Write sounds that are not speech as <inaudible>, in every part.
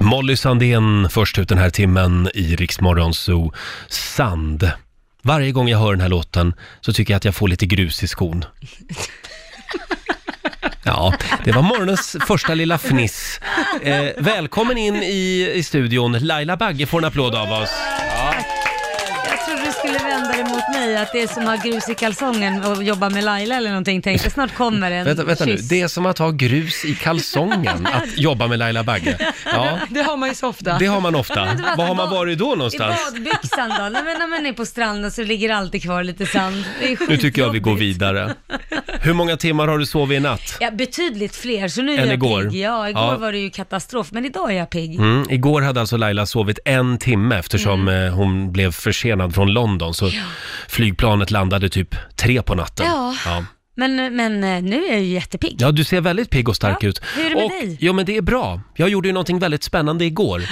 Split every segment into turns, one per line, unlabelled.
Molly Sandén först ut den här timmen i Riksmorgon Zoo. Sand. Varje gång jag hör den här låten så tycker jag att jag får lite grus i skon. Ja, det var morgonens första lilla fniss. Eh, välkommen in i, i studion. Laila Bagge får en applåd av oss.
Jag trodde du skulle vända dig mot mig, att det är som att ha grus i kalsongen och jobba med Laila eller någonting. Tänkte snart kommer en
Vänta, vänta nu,
kyss.
det är som att ha grus i kalsongen att jobba med Laila Bagge. Ja,
<laughs> Det har man ju så ofta.
det har man ofta.
Men vänta,
Var har man
bad-
varit då någonstans?
I badbyxan då? Nej, men när man är på stranden så ligger det alltid kvar lite sand. Det är
Nu tycker jag vi går
skitjobbigt.
vidare. Hur många timmar har du sovit i natt?
Ja, betydligt fler, så nu är
Än
jag
igår.
pigg. Ja, igår
Ja.
var det ju katastrof, men idag är jag pigg.
Mm, igår hade alltså Laila sovit en timme eftersom
Mm.
eh, hon blev försenad från London så flygplanet landade typ tre på natten.
Ja.
Ja.
Men, men eh, nu är jag ju jättepigg.
Ja, du ser väldigt pigg och stark
Ja,
ut.
hur är det med
och,
dig?
Ja, men det är bra. Jag gjorde ju någonting väldigt spännande igår.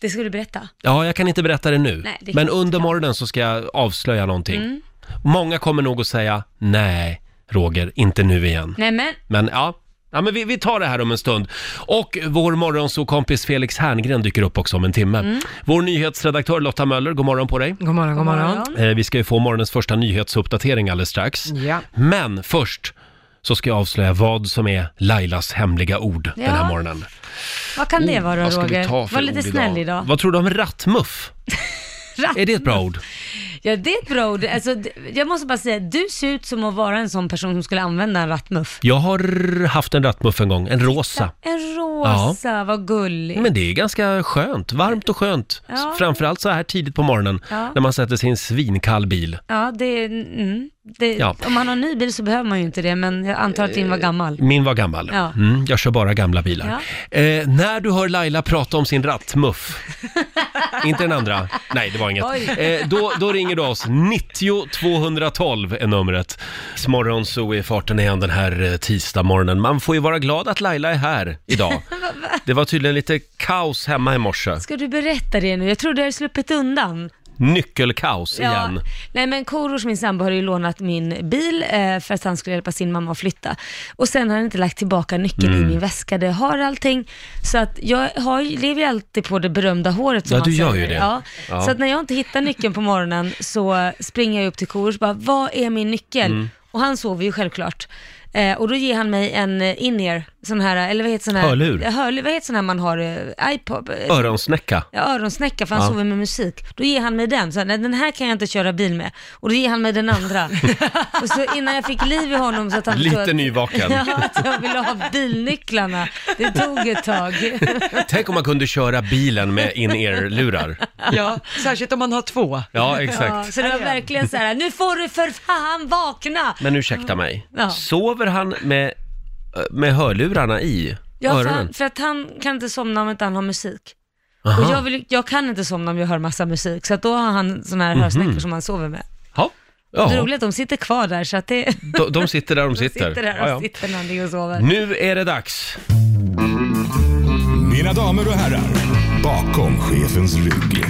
Det ska du berätta.
Ja, jag kan inte berätta det nu.
Nej, det är Mm.
men
klart.
under morgonen så ska jag avslöja någonting. Många kommer nog att säga, nej, Roger, inte nu igen.
Nej men,
Men ja, ja men vi, vi tar det här om en stund. Och vår morgonsåkompis Felix Herngren dyker upp också om en timme.
Mm.
Vår nyhetsredaktör Lotta Möller, god morgon på dig.
God morgon, god morgon.
Mm.
Eh, vi ska ju få morgonens första nyhetsuppdatering alldeles strax.
Ja.
Men först så ska jag avslöja vad som är Lailas hemliga ord den här
Ja.
morgonen.
Vad kan det vara
Oh, Vad ska vi
Roger?
ta för
Var
ord
lite snäll idag.
Vad tror du om
<laughs>
rattmuff? Är det ett bra ord?
Ja det är ett bra ord. Alltså, d- jag måste bara säga, du ser ut som att vara en sån person som skulle använda en rattmuff.
Jag har haft en rattmuff en gång, en rosa.
En rosa, vad gullig.
Men det är ganska skönt, varmt och skönt.
Ja.
Framförallt så här tidigt på morgonen
Ja.
när man sätter sig i en svinkall bil.
Ja, det, är- mm, det,
Ja. Eh.
om man har en ny bil så behöver man ju inte det, men jag antar att din var gammal.
Min var gammal.
Ja.
Mm, jag kör bara gamla bilar. Eh, när du hör Laila prata om sin
<laughs>
rattmuff, inte den andra, nej det var
Oj.
inget, eh, då, då ringer du oss. 90 212 är numret. Morgon så är farten igen den här eh, tisdagmorgonen. Man får ju vara glad att Laila är här
<laughs>
idag. Det var tydligen lite kaos hemma i morse.
Ska du berätta det nu? Jag trodde jag hade sluppit undan.
Nyckelkaos igen.
Nej men Korosh, min sambo, har ju lånat min bil eh, för att han skulle hjälpa sin mamma att flytta. Och sen har han inte lagt tillbaka nyckeln
Mm.
i min väska där jag har allting. Så att jag har, ju- lever ju alltid på det berömda håret som
Ja,
han
du gör
säger.
ju det.
Ja.
Ja.
Så att när jag inte hittar nyckeln på morgonen så springer jag upp till Korosh och bara, vad är min nyckel?
Mm.
Och han sover ju självklart. Eh, och då ger han mig en eh, in-ear, sån här, eller vad heter sån här?
Hörlur.
Hörlur, vad heter sån här man har, eh, iPod? eh,
Öronsnäcka.
Ja, öronsnäcka för han
Ja.
sover med musik. Då ger han mig den. Så, nej, den här kan jag inte köra bil med. Och då ger han mig
<laughs>
den andra. och så innan jag fick liv i honom så att han
Lite
att,
nyvaken.
Alltså, <laughs> ja, att jag ville ha bilnycklarna. Det tog
<laughs>
ett tag.
Tänk om man kunde köra bilen med in-ear-lurar.
Ja, särskilt om man har två.
Ja, exakt.
Ja, så det var verkligen så här, nu får du för fan vakna!
Men ursäkta mig,
Ja.
sover han med, med hörlurarna i
Ja, för,
öronen?
han, för att han kan inte somna om inte han har musik.
Aha.
Och jag, vill, jag kan inte somna om jag hör massa musik, så att då har han sådana här hörsnäckor som han sover med.
Ja.
Det
Mhm. Ja,
roliga är att de sitter kvar där, så att det...
de, de sitter där de
<laughs> De
sitter.
sitter där
Ja,
och
ja.
sitter när han ligger och sover.
Nu är det dags.
Mina damer och herrar, bakom chefens rygg.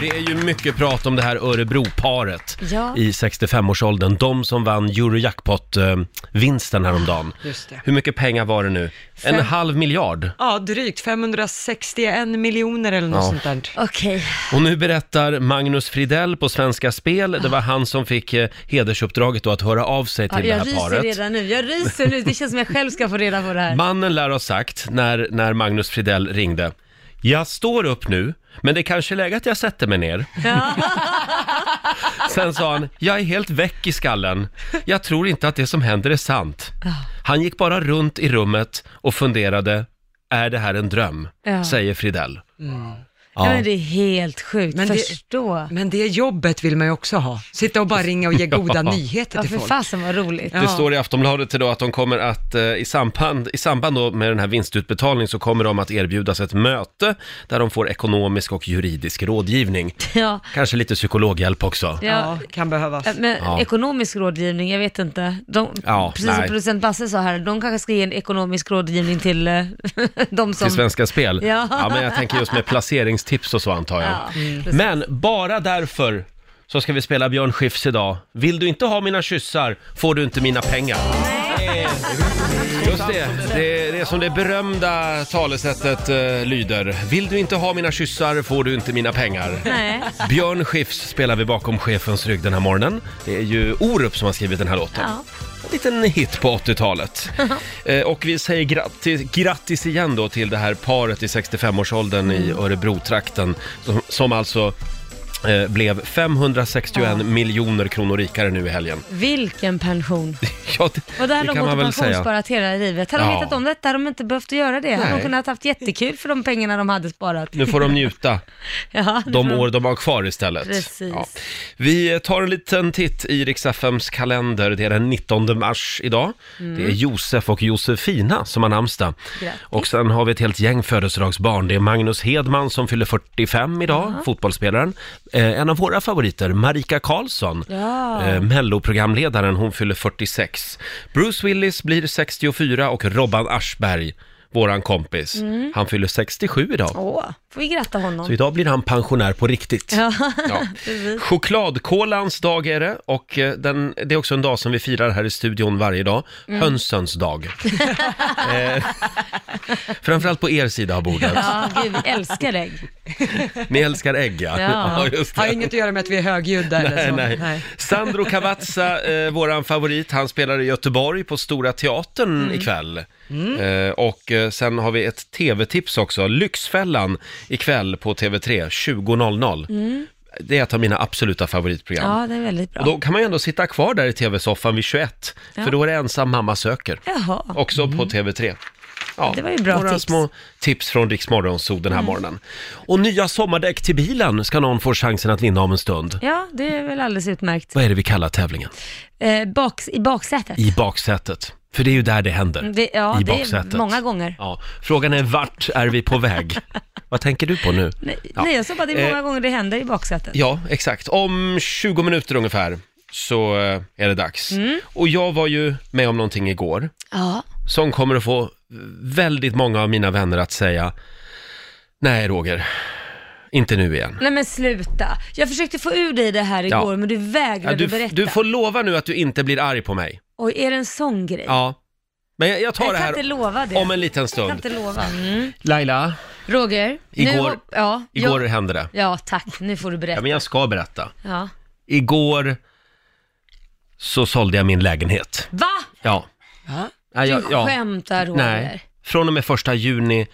Det är ju mycket prat om det här Örebroparet
Ja.
i 65-årsåldern. De som vann Eurojackpot-vinsten häromdagen.
Just det.
Hur mycket pengar var det nu? En halv miljard.
Ja, drygt 561 miljoner eller något
Ja.
sånt där.
Okej.
Och nu berättar Magnus Fridell på Svenska Spel, det var han som fick eh, hedersuppdraget då att höra av sig
Ja,
till det
jag
här
ryser
paret.
redan nu. Jag ryser nu. Det känns som jag själv ska få reda på det här.
Mannen lär ha sagt när, när Magnus Fridell ringde. Jag står upp nu, men det är kanske är läge att jag sätter mig ner. Sen sa han, jag är helt väck i skallen. Jag tror inte att det som händer är sant. Han gick bara runt i rummet och funderade, är det här en dröm?
Ja.
Säger Fridell.
Ja. men det är helt sjukt.
Men det-
Förstå.
Men det jobbet vill man ju också ha. Sitta och bara ringa och
<laughs>
ge goda nyheter
Ja,
till
för
folk.
fasen vad roligt.
Det står i Aftonbladet idag att de kommer att eh, i samband, i samband då med den här vinstutbetalningen så kommer de att erbjudas ett möte där de får ekonomisk och juridisk rådgivning.
Ja,
Kanske lite psykologhjälp också.
ja.
Ja, kan behövas.
Men
Ja.
ekonomisk rådgivning, jag vet inte. De,
Ja,
precis som
nej.
producent Basse sa här, de kanske ska ge en ekonomisk rådgivning till eh, <laughs> de som...
Till Svenska Spel?
Ja.
men jag tänker just med placeringstips och så antar jag. Mm.
Ja, precis.
men bara därför så ska vi spela Björn Skifs idag. Vill du inte ha mina kyssar får du inte mina pengar. Nej. Just det. det, det är som det berömda talesättet eh, lyder. Vill du inte ha mina kyssar får du inte mina pengar.
Nej.
Björn Skifs spelar vi bakom chefens rygg den här morgonen. Det är ju Orup som har skrivit den här låten.
Ja.
En liten hit på
<laughs>
80-talet. Eh, och vi säger grattis, grattis igen då till det här paret i 65-årsåldern
Mm.
i Örebro-trakten som, som alltså eh, blev 561 miljoner kronor rikare nu i helgen.
Vilken pension.
Ja, det,
Och där hade
det
de
kan
gått
man
och
väl säga.
pensionssparat hela livet. Hade de
Ja.
vetat om detta hade de inte behövt göra det. Hade
Nej.
de kunnat haft jättekul för de pengarna de hade sparat.
Nu får de njuta.
Ja, det
de
får-
år de har kvar istället.
Precis.
Vi tar en liten titt i Rix FMs kalender. Det är den 19 mars idag. Det är Josef och Josefina som har namnsdag.
Mm. Grattis.
Och sen har vi ett helt gäng födelsedagsbarn. Det är Magnus Hedman som fyller 45 idag, fotbollsspelaren. Eh, en av våra favoriter, Marika Karlsson,
Ja.
eh, Melloprogramledaren, hon fyller 46. Bruce Willis blir 64 och Robban Aschberg, våran kompis,
Mm.
han fyller 67 idag.
Åh, får vi gratta
Så
honom.
idag blir han pensionär på riktigt.
Ja,
Ja.
<laughs> precis.
Chokladkolans dag är det och eh, den, det är också en dag som vi firar här i studion varje dag.
Mm.
Hönsens
<laughs>
dag. eh, <laughs> framförallt på er sida av bordet.
Ja, gud, vi älskar ägg.
Ni älskar ägg <laughs> ja.
Ja.
just
Har
det.
inget att göra med att vi är högljudda eller
Nej,
så.
nej. Sandro Cavazza, eh, våran favorit, han spelar i Göteborg på Stora Teatern
Mm.
ikväll. Eh, och eh, sen har vi ett tv-tips också, Lyxfällan ikväll på TV3, 20.00. Det är ett av mina absoluta favoritprogram.
Mm. Ja, det är väldigt
Och
bra.
då kan man ju ändå sitta kvar där i tv-soffan vid 21, för då är det ensam mamma söker.
Jaha.
Också på TV3. Ja,
Mm. Det var ju bra
några
tips. Mm.
små tips från Rix Morgonzoo den här morgonen. Och nya sommardäck till bilen ska någon få chansen att vinna om en stund.
Ja, det är väl alldeles utmärkt.
Vad är det vi kallar tävlingen?
Eh, bak, I baksätet.
I baksätet. För det är ju där det händer.
Det, ja,
I
det
baksätet.
är många gånger.
Ja. Frågan är vart är vi på
<laughs>
väg? Vad tänker du på nu?
Nej,
Ja.
nej, jag sa bara det är många
Eh.
gånger det händer i baksätet.
Ja, exakt. Om 20 minuter ungefär så eh, är det dags.
Mm.
Och jag var ju med om någonting igår.
Ja.
som kommer att få väldigt många av mina vänner att säga Nej Roger, inte nu igen.
Nej men sluta. Jag försökte få ur dig det här igår,
Ja.
men du
Ja,
vägrade
du,
berätta.
du får lova nu att du inte blir arg på mig.
Oj, är det en sån grej?
Ja. Men jag, jag tar
jag
det
kan inte
här
lova det.
om en liten
Jag kan
stund.
inte lova. Mm.
Laila,
Roger, nu,
Igår-
hop- ja,
igår
Jag,
hände det.
ja, tack. Nu får du
Ja,
berätta.
men jag ska berätta.
Ja.
Igår så sålde jag min lägenhet.
Va?
Ja.
Va?
Nej,
Du
jag, ja.
skämtar Roger.
Nej. Från och med första juni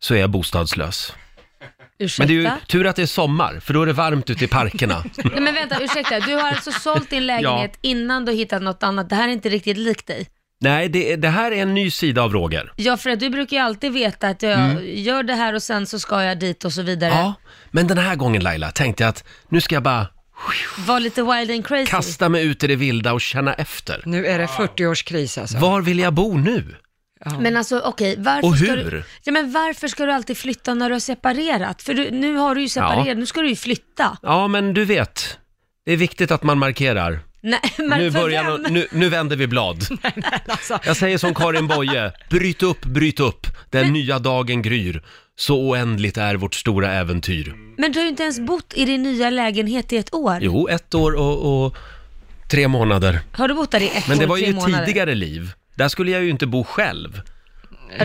så är jag bostadslös.
Ursäkta?
Men det är ju tur att det är sommar, för då är det varmt ute i
<laughs>
parkerna.
Nej men vänta, ursäkta. Du har alltså
<laughs>
sålt din lägenhet innan du hittat något annat. Det här är inte riktigt likt dig.
Nej, det, det här är en ny sida av Roger.
Ja, för att du brukar ju alltid veta att jag gör det här och sen så ska jag dit och så vidare.
Mm. Ja, men den här gången Laila tänkte jag att nu ska jag bara
Var lite wild and crazy.
kasta mig ut i det vilda och känna efter.
Nu är det 40-årskris alltså.
Var vill jag bo nu?
Men alltså okej, varför
Och
ska
hur?
du... Ja men varför ska du alltid flytta när du har separerat? För du, nu har du ju separerat,
Ja.
nu ska du ju flytta.
Ja, men du vet, det är viktigt att man markerar.
Nej, <laughs> men
Nu,
för
börjar,
vem?
nå- nu, nu vänder vi
<laughs>
blad.
Alltså,
Jag säger som Karin Boye, bryt upp, bryt upp, den nya dagen gryr. Så oändligt är vårt stora äventyr.
Men du har ju inte ens bott i din nya lägenhet i ett år.
Jo, ett år och, och tre månader.
Har du bott där i ett
Men
år
det var
tre
ju ett
månader?
tidigare liv. Där skulle jag ju inte bo själv.
Ja,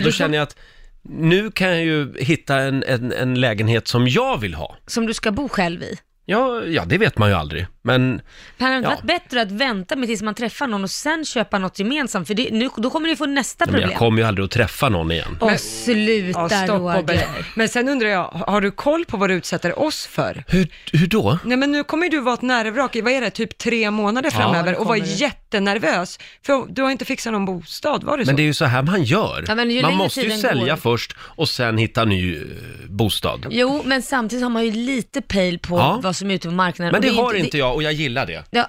Då
du,
känner jag att nu kan jag ju hitta en, en, en lägenhet som jag vill ha.
Som du ska bo själv i.
Ja, ja, det vet man ju aldrig. Men
Det hade inte
Ja.
varit bättre att vänta med tills man träffar någon och sen köpa något gemensamt, för det, nu, då kommer du få nästa
men
problem.
jag kommer ju aldrig att träffa någon igen.
Åh, sluta
ja, stopp och
Roger.
belägg. Men sen undrar jag, har du koll på vad du utsätter oss för?
Hur, hur då?
Nej men nu kommer ju du vara ett nervvrak i, vad är det, typ tre månader framöver
det
och vara
kommer det.
jättenervös. För du har inte fixat någon bostad, var det så?
Men det är ju så här man gör.
Ja, men ju
man
längre
måste ju
tiden
sälja
går.
först och sen hitta ny eh, bostad.
Jo, men samtidigt har man ju lite pejl på
Ja.
vad som är ute på marknaden.
Men
Och
det
är
har inte jag och jag gillar det.
Ja,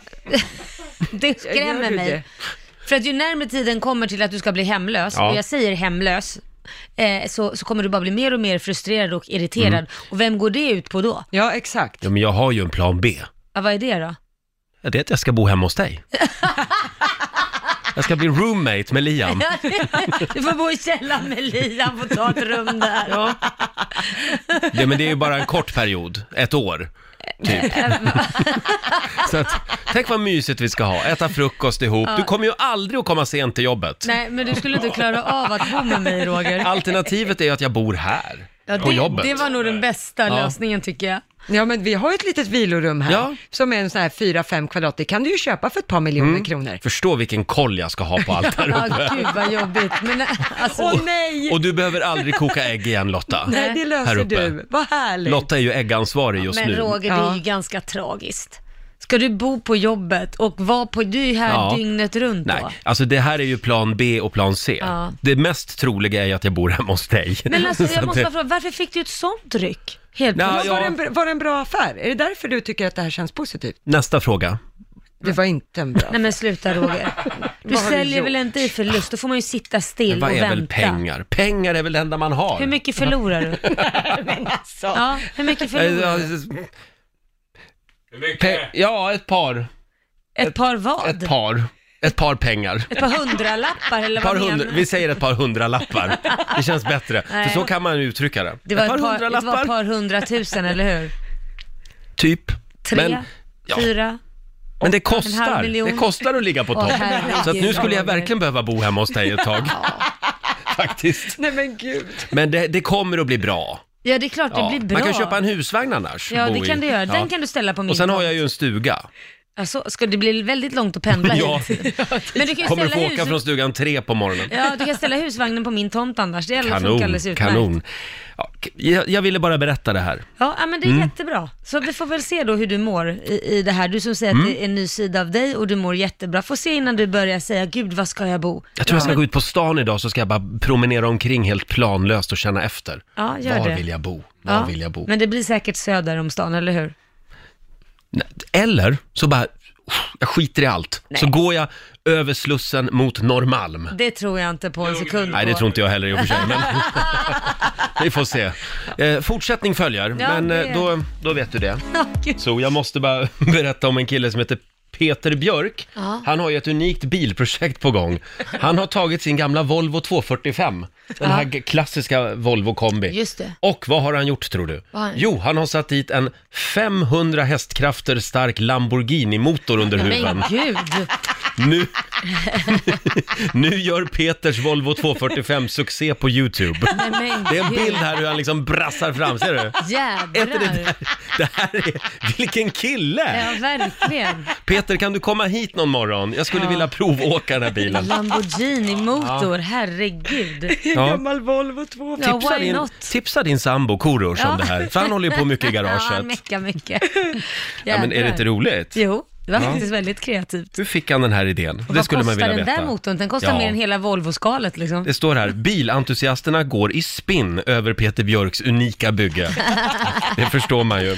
<laughs> det
Gör
skrämmer
du
mig.
det?
För att ju närmare tiden kommer till att du ska bli hemlös,
Ja.
och jag säger hemlös, eh, så, så kommer du bara bli mer och mer frustrerad och irriterad.
Mm.
Och vem går det ut på då?
Ja, exakt.
Ja, men jag har ju en plan B.
Ja, vad är det då?
Ja, Det är att jag ska bo hemma hos
<laughs>
dig. Jag ska bli roommate med Liam.
<laughs> Du får bo i källaren med Liam och ta ett rum där.
Ja, men det är ju bara en kort period, ett år. typ. Så att, tänk vad mysigt vi ska ha, äta frukost ihop. Du kommer ju aldrig att komma sent till jobbet.
Nej, men du skulle inte klara av att bo med mig Roger.
Alternativet är ju att jag bor här,
Ja,
på
det,
jobbet.
det var nog den bästa
Ja.
lösningen tycker jag.
Ja, men vi har ju ett litet vilorum här
Ja.
som är en sån här 4-5 kvadrat. Det kan du ju köpa för ett par miljoner
Mm.
kronor.
Förstå vilken koll jag ska ha på allt här
<laughs> Ja,
uppe.
gud vad jobbigt. Men, alltså,
Åh nej!
Och du behöver aldrig koka ägg igen Lotta.
nej, det
Här
löser
uppe.
du. Vad härligt.
Lotta är ju äggansvarig just
men
nu.
Roger, det är ju
Ja.
ganska tragiskt. Ska du bo på jobbet och vara på, du är ju här
Ja.
dygnet runt
Nej,
då.
alltså det här är ju plan B och plan C.
Ja.
Det mest troliga är ju att jag bor hemma hos dig.
Men
<laughs>
alltså
Så att
jag måste
det-
bara fråga, varför fick du ett sånt ryck? Helt
Nej,
plötsligt.
Var, det
ja.
en, br- var det en bra affär? Är det därför du tycker att det här känns positivt?
Nästa fråga.
Det
Mm.
var inte en bra.
Nej men
<laughs>
sluta Roger. Du
Vad har du
säljer
gjort?
väl inte i förlust, då får man ju sitta
Men
still
vad
och
är
vänta.
väl pengar? Pengar är väl det enda man har?
Hur mycket förlorar du?
<laughs> alltså.
Ja, hur mycket
Eh,
förlorar
ja,
du?
Pe- ja, ett par.
Ett par vad?
Ett par. Ett par pengar.
Ett par hundralappar eller
Par
vad
hundra,
menar du?
vi säger ett par
<laughs>
hundralappar. Det känns bättre.
Nej.
För så kan man ju uttrycka det.
Det var ett par, det var
hundralappar.
ett par hundratusen, eller hur?
Typ.
Tre,
Men, ja.
fyra.
Men det
en
kostar.
halv miljon.
Det kostar att ligga på
Åh,
topp.
herregud,
Så att nu skulle jag
Roger.
verkligen behöva bo hemma hos dig ett tag. <laughs> Faktiskt.
Nej men gud.
Men det, det kommer att bli bra.
Ja, det är klart
Ja.
det blir bra.
Man kan köpa en husvagn annars.
Ja,
och
det
bo
kan
i.
du göra. Den
Ja.
kan du ställa på min
Och sen har
tomt.
jag ju en stuga.
Alltså, ska det bli väldigt långt att <laughs> pendla
Ja.
hit? Men du kan ju
Kommer
ställa,
få åka
hus...
från stugan tre på morgonen.
ja, du kan ställa husvagnen på min tomt annars. Det funkar
Kanon,
alldeles utmärkt.
kanon. Ja, k- jag, jag ville bara berätta det här.
Ja, ja, men det är
Mm.
jättebra. Så vi får väl se då hur du mår i, i det här. Du som säger
Mm.
att det är en ny sida av dig och du mår jättebra. Får se innan du börjar säga, gud vad ska jag bo?
Jag tror jag ska gå ut på stan idag så ska jag bara promenera omkring helt planlöst och känna efter.
Ja, gör
Var
det.
vill jag bo? Var
Ja,
vill jag bo?
Men det blir säkert söder om stan, eller hur?
Nej, Eller så bara, jag skiter i allt. Så går jag över Slussen mot Norrmalm.
Det tror jag inte på en sekund
Nej, det
på.
tror inte jag heller i och för sig.
<laughs>
Men vi får se. Eh, fortsättning följer,
Ja,
men eh,
det-
då, då vet du det.
Ja, gud.
Så jag måste bara <laughs> berätta om en kille som heter Peter Björk.
Ja.
Han har ju ett unikt bilprojekt på gång. Han har tagit sin gamla Volvo 245, den här g- klassiska Volvo kombi.
Just det.
Och vad har han gjort tror du?
Vad har han-
Jo, han har satt dit en 500 hästkrafter stark Lamborghini-motor under huven.
Men gud.
Nu, <laughs> nu gör Peters Volvo 245 succé på YouTube.
Nej, men
Det är en
gud.
bild här hur han liksom brassar fram, ser du? Är inte det,
Jädrar.
där? det här är, vilken kille!
Ja, verkligen.
Peter, kan du komma hit någon morgon? Jag skulle vilja provåka den här bilen.
Lamborghini-motor, herregud.
En
Ja.
gammal Volvo 2.
<laughs> Ja,
Tipsa
why
din,
not?
tipsa din sambo Korosh om
Ja.
det här, för han håller ju på mycket i
<laughs> Ja, han
garaget.
meckar mycket.
Ja, men
<laughs>
är det
Jädrar.
inte roligt?
Jo, det var faktiskt väldigt kreativt.
Hur fick han den här idén? Det
Vad
skulle man
kostar
vilja
den där
veta.
motorn? Den kostar
Ja.
mer än hela Volvo-skalet liksom.
Det står här, bilentusiasterna går i spinn över Peter Björks unika bygge.
<laughs>
Det förstår man ju.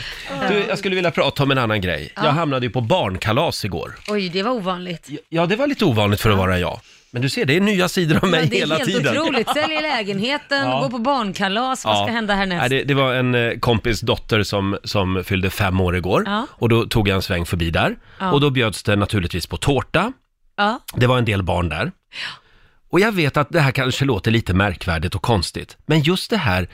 Du, jag skulle vilja prata om en annan grej. Jag hamnade ju på barnkalas igår.
Oj, det var ovanligt.
Ja, det var lite ovanligt för att vara jag. Men du ser, det är nya sidor av mig
ja, det är
hela
helt
tiden. <laughs>
otroligt. Säljer lägenheten,
Ja.
går på barnkalas, vad ska hända
Nej,
härnäst?
det, det var en eh, kompis dotter som, som fyllde fem år igår
Ja.
och då tog jag en sväng förbi där
Ja.
och då bjöds det naturligtvis på tårta.
Ja.
Det var en del barn där. Och jag vet att det här kanske låter lite märkvärdigt och konstigt, men just det här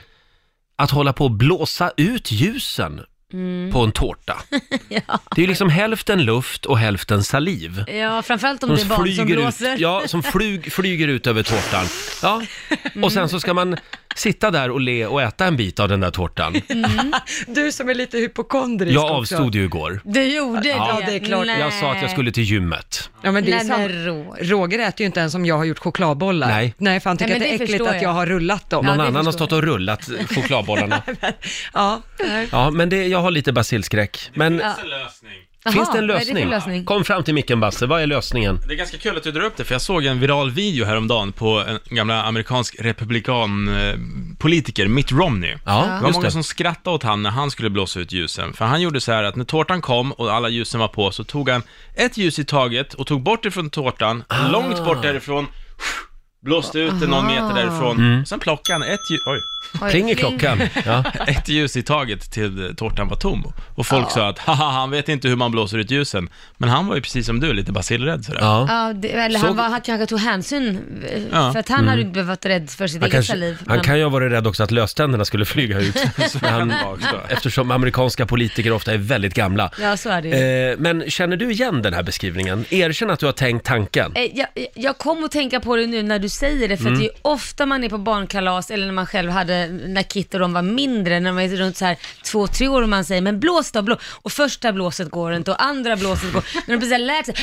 att hålla på och blåsa ut ljusen
Mm.
på en
<laughs>
tårta. Det är ju liksom hälften luft och hälften saliv.
ja, framförallt om det är barn som blåser.
ut, ja, som flug, flyger ut över tårtan. Ja.
Mm.
Och sen så ska man sitta där och le och äta en bit av den där tårtan.
Du som är lite hypokondrisk
Jag
också.
avstod ju igår.
Du gjorde
Ja,
det?
det är klart.
Nej.
Jag sa att jag skulle till gymmet.
Ja, men det är
Nej, men
sant.
Roger.
Roger äter ju inte ens om jag har gjort chokladbollar.
Nej.
Nej, för han tycker
Nej,
att
men
det är
det
äckligt
förstår
att
jag.
jag har rullat dem.
Någon
det
annan har
förstår
stått och rullat
<laughs>
chokladbollarna.
Ja.
Ja, men det, jag har lite basilskräck. Men
en lösning.
Jaha,
finns det en
vad är det för
lösning?
lösning?
Kom fram till micken Basse, vad är lösningen?
Det är ganska kul att du drar upp det, för jag såg en viral video häromdagen på en gamla amerikansk republikanpolitiker, Mitt Romney.
Ja,
Det var
just
många
det.
som skrattade åt han när han skulle blåsa ut ljusen, för han gjorde så här att när tårtan kom och alla ljusen var på
Ah.
så tog han ett ljus i taget och tog bort ifrån tårtan, långt bort därifrån, blåste ut den någon meter
Ah.
Aha.
därifrån.
Mm.
Sen plockade han ett, ljus, oj, <laughs>
Oj,
Pling i
pling. <laughs>
klockan. Ja.
ett ljus i taget till tårtan var tom. Och
Ah.
folk sa att haha, han vet inte hur man blåser ut ljusen. Men han var ju precis som du, lite basilrädd sådär.
Ja.
Ja, det, eller han,
Såg- Mm.
var, han kanske tog hänsyn, eh,
Ja.
för att han hade inte behövt vara rädd för sitt
Han,
eget
kanske,
liv.
han
men-
kan ju ha varit rädd också att löständerna skulle flyga
<laughs>
ut. När han, <laughs> eftersom amerikanska politiker ofta är väldigt gamla.
Ja, så är det ju.
Eh, men känner du igen den här beskrivningen? Erkänn att du har tänkt tanken.
Eh, Jag, jag- jag kom att tänka på det nu när du säger det, för
Mm.
att det är ju ofta man är på barnkalas eller när man själv hade, när Kit och de var mindre, när man är runt så här två, tre år och man säger men blås då, blå. och första blåset går inte och andra blåset går, när de precis har
<laughs>
lärt sig,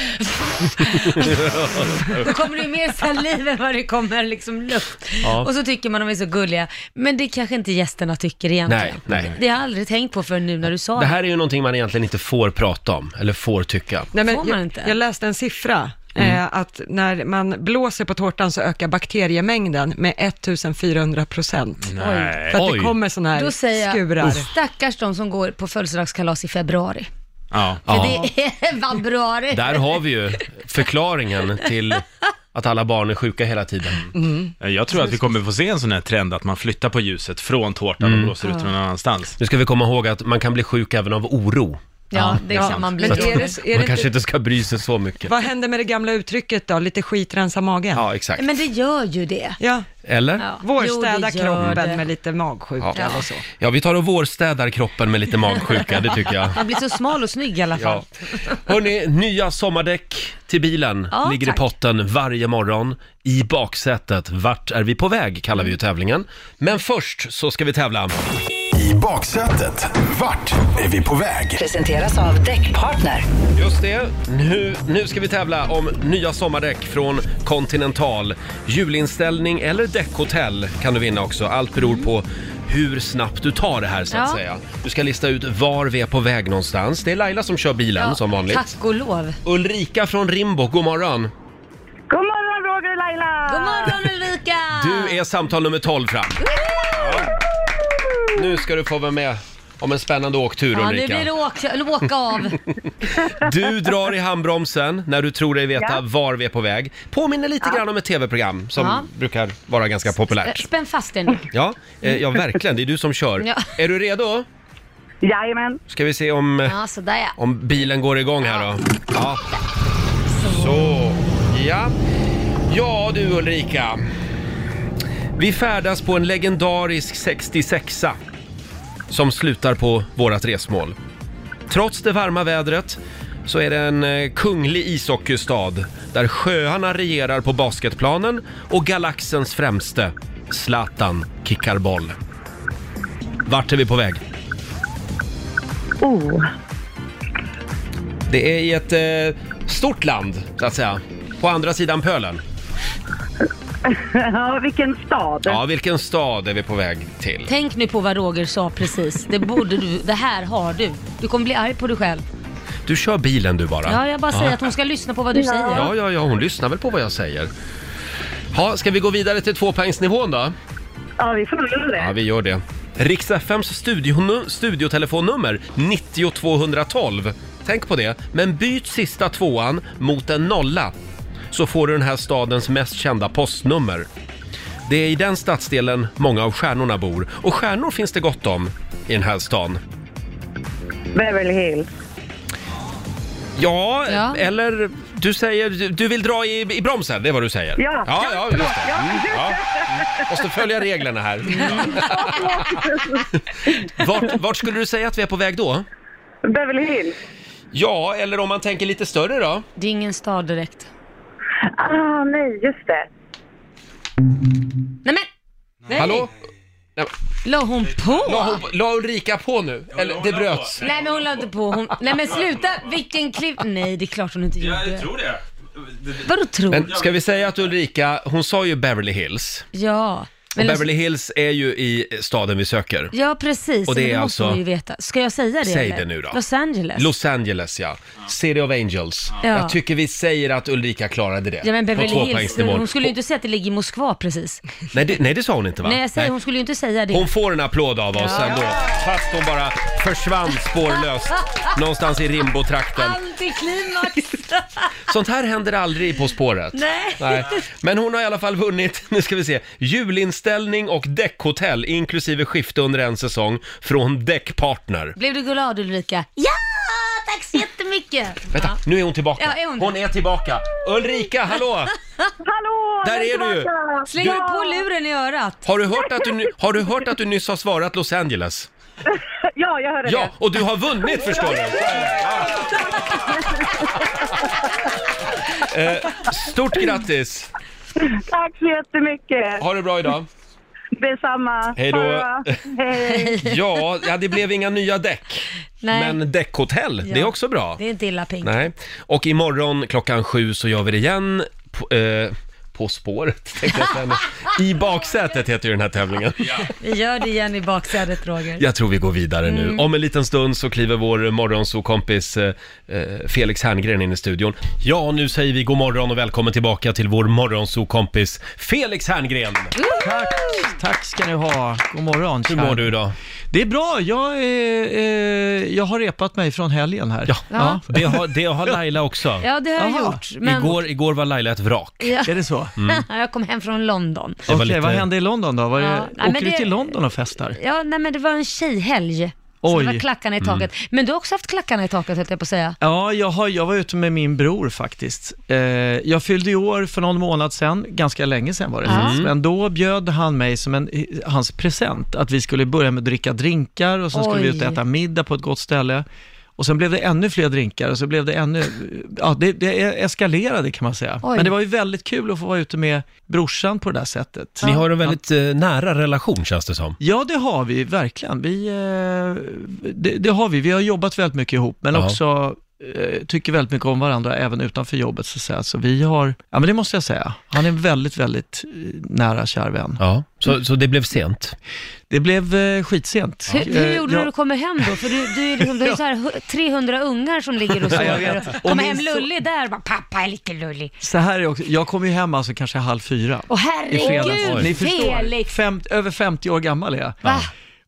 då kommer det ju mer saliv än vad det kommer liksom luft.
Ja.
Och så tycker man de är så gulliga, men det kanske inte gästerna tycker egentligen.
Nej, nej.
Det har jag aldrig tänkt på förrän nu när du sa
Det
det.
här är ju någonting man egentligen inte får prata om, eller får tycka.
Nej, men
Får man
jag,
inte?
jag läste en siffra,
Mm.
eh, att när man blåser på tårtan så ökar bakteriemängden med 1400 procent.
Nej.
För att
Oj.
det kommer sådana här
Då säger
skurar.
jag, stackars de som går på födelsedagskalas i februari.
Ja.
För det är <laughs> februari.
Där har vi ju förklaringen till att alla barn är sjuka hela tiden.
Eh, Jag tror att vi kommer få se en sån här trend att man flyttar på ljuset från tårtan och blåser ut någon annanstans.
Nu ska vi komma ihåg att man kan bli sjuk även av oro.
Ja, det
Ja,
kan man bli.
men är det, är
Man
det
kanske
inte,
inte ska bry sig så mycket.
vad händer med det gamla uttrycket då? Lite skit rensar magen?
Ja, exakt.
Men det gör ju det.
Ja,
Eller?
Ja. Jo,
vårstäda
det gör
kroppen
det.
med lite magsjuka
Ja.
eller så.
Ja, vi tar och vårstädar kroppen med lite magsjuka, det tycker
<laughs>
jag.
Man blir så smal och snygg i alla fall.
Ja. Hörni, nya sommardäck till bilen
Ja,
ligger
tack.
i potten varje morgon. I baksätet, vart är vi på väg, kallar
Mm.
vi ju tävlingen. Men först så ska vi tävla.
I baksätet, vart är vi på väg?
Presenteras av Däckpartner.
Just det. Nu, nu ska vi tävla om nya sommardäck från Continental. Julinställning eller däckhotell kan du vinna också. Allt beror på hur snabbt du tar det här så att
Mm. Ja.
säga. Du ska lista ut var vi är på väg någonstans. Det är Laila som kör bilen som vanligt.
Tack och lov.
Ulrika från Rimbo, god morgon.
God morgon Roger och Laila!
God morgon Ulrika!
Du är samtal nummer 12 fram. Ja. Nu ska du få vara med om en spännande åktur
Ja, nu blir det
Ulrika.
åka, eller
<laughs>
åka av.
Du drar i handbromsen när du tror dig veta
Ja.
var vi är på väg. Påminner lite grann om ett tv-program som
Ja.
brukar vara ganska populärt.
Spänn fast dig nu.
Ja, eh, ja verkligen. Det är du som kör.
Ja.
Är du redo?
Jajamän!
Ska vi se om, eh,
Ja, sådär ja.
om bilen går igång här då. Ja. Så, ja. Ja du Ulrika. Vi färdas på en legendarisk 66a som slutar på vårat resmål. Trots det varma vädret så är det en eh, kunglig ishockeystad där sjöarna regerar på basketplanen och galaxens främste, Zlatan, kickar boll. Vart är vi på väg?
Oh.
Det är i ett eh, stort land, så att säga. På andra sidan pölen.
Ja, vilken stad!
Ja, vilken stad är vi på väg till?
Tänk nu på vad Roger sa precis. Det borde du, det här har du. Du kommer bli arg på dig själv.
Du kör bilen du bara.
Ja, jag bara säger att hon ska lyssna på vad du säger.
Ja, ja, ja, hon lyssnar väl på vad jag säger. Ja, ska vi gå vidare till tvåpoängsnivån då?
Ja, vi får göra
Ja,
det.
vi gör det. Rix FMs studio, studiotelefonnummer 90212. Tänk på det, men byt sista tvåan mot en nolla så får du den här stadens mest kända postnummer. Det är i den stadsdelen många av stjärnorna bor och stjärnor finns det gott om i den här stan.
Beverly Hills.
Ja,
Ja.
eller du säger, du- du vill dra i, i bromsen, det är vad du säger.
Ja.
ja, ja just det. Mm, ja. Mm. Måste följa reglerna här. Vart, vart skulle du säga att vi är på väg då?
Beverly Hills.
Ja, eller om man tänker lite större då?
Det är ingen stad direkt.
Ah, nej, just det.
Nej men!
Hallå?
La hon på?
La, hon, la Ulrika på nu? Eller det bröts?
Nej men hon la inte på. Hon... Nej men sluta! Vilken kliv... Nej det är klart hon inte gjorde.
tror det.
Vadå tror?
Men ska vi säga att Ulrika, hon sa ju Beverly Hills.
Ja.
Och
Men alltså-
Beverly Hills är ju i staden vi söker.
Ja, precis.
Och det
Men
är
måste
alltså-
hon ju veta. Ska jag säga det
Säg
eller?
det nu då.
Los Angeles.
Los Angeles ja, City of Angels.
Ja.
Jag tycker vi säger att Ulrika klarade det.
Ja men Beverly
på
Hills,
tvåpoängsnivån.
hon skulle ju inte säga att det ligger i Moskva precis.
nej, det, nej, det sa hon inte va?
Nej jag säger, hon skulle ju inte säga det.
Hon får en applåd av oss
Ja.
ändå, fast
<laughs>
hon bara försvann spårlöst någonstans i Rimbo-trakten. <laughs>
Antiklimax!
Sånt här händer aldrig i På spåret.
Nej.
Men hon har i alla fall vunnit, <laughs> nu ska vi se, julinställning och däckhotell inklusive skifte under en säsong från Däckpartner.
Blev du glad Ulrika? Ja, tack så jättemycket!
Vänta,
Ja.
nu är hon tillbaka.
Ja, är hon det?
hon är tillbaka. Ulrika,
<laughs>
hallå!
Hallå!
Där
jag
är du ju.
tillbaka!
Slänger du på luren i örat?
Har du hört att du, ny- har du, hört att du nyss har svarat Los Angeles?
Ja, jag hörde
Ja,
det.
och du har vunnit förstår
<laughs>
du! Eh, Stort grattis!
Tack så jättemycket.
Ha det bra idag.
Detsamma.
Hej då.
Ha det bra. Hej.
Ja, ja det blev inga nya däck.
Nej,
Men däckhotell, det är också bra.
det är inte illa Pink.
Nej. Och imorgon klockan sju så gör vi det igen. På, eh, på spåret, tänkte jag
<laughs>
säga. I baksätet heter ju den här tävlingen.
Vi gör det igen i baksätet Roger.
Jag tror vi går vidare nu. Om en liten stund så kliver vår morgonsokompis eh, eh, Felix Herngren in i studion. Ja, nu säger vi god morgon och välkommen tillbaka till vår morgonsokompis Felix Herngren.
Tack, tack ska ni ha. God morgon.
Hur
kär.
mår du idag?
Det är bra. Jag, är, eh, jag har repat mig från helgen här. Ja.
Ja.
Det har, det har Laila <laughs> också.
Ja, det har jag
Jaha. Mm.
gjort. Men...
Igår, igår var Laila ett vrak.
<laughs> Ja.
Är det så?
jag kom hem från London.
Mm. var
Okej,
lite-
vad hände i London då? Var det,
Ja, nej, men
åker du
det-
till London och festar?
Ja, nej men det var en tjejhelg. Så
Oj. Mm.
det var klackarna i taket. Men du har också haft klackarna i taket höll jag på att säga.
Ja, jag, har, jag var ute med min bror faktiskt. Eh, jag fyllde i år för någon månad sedan, ganska länge sedan var det
Mm.
faktiskt, men då bjöd han mig som en, hans present att vi skulle börja med att dricka drinkar och sen skulle vi
Oj.
ut och äta middag på ett gott ställe. Och sen blev det ännu fler drinkar och så blev det ännu, ja det, det eskalerade kan man säga.
Oj.
Men det var ju väldigt kul att få vara ute med brorsan på det där sättet.
Ni har en väldigt eh, nära relation känns det som.
Ja, det har vi verkligen. Vi, eh, det, det har vi. Vi har jobbat väldigt mycket ihop, men
Ja.
också eh, tycker väldigt mycket om varandra även utanför jobbet. Så, att säga. så vi har, ja men det måste jag säga, han är en väldigt, väldigt eh, nära kär vän.
Ja, så, så det blev sent.
Det blev eh, skitsent.
Hur, hur gjorde du
Eh,
när
jag-
du kommer hem då? För du, du, är liksom, du
<laughs>
har ju så här hu- 300 ungar som ligger och
Ja, jag
sover.
vet.
Och
Och
Kommer
min
hem
son-
lullig där och bara, pappa är lite lullig.
Så här är det också, jag kom ju hem alltså kanske halv fyra.
Åh
i fredags.
herregud,
Ni förstår,
Felix!
Fem, över 50 år gammal är jag.
Va?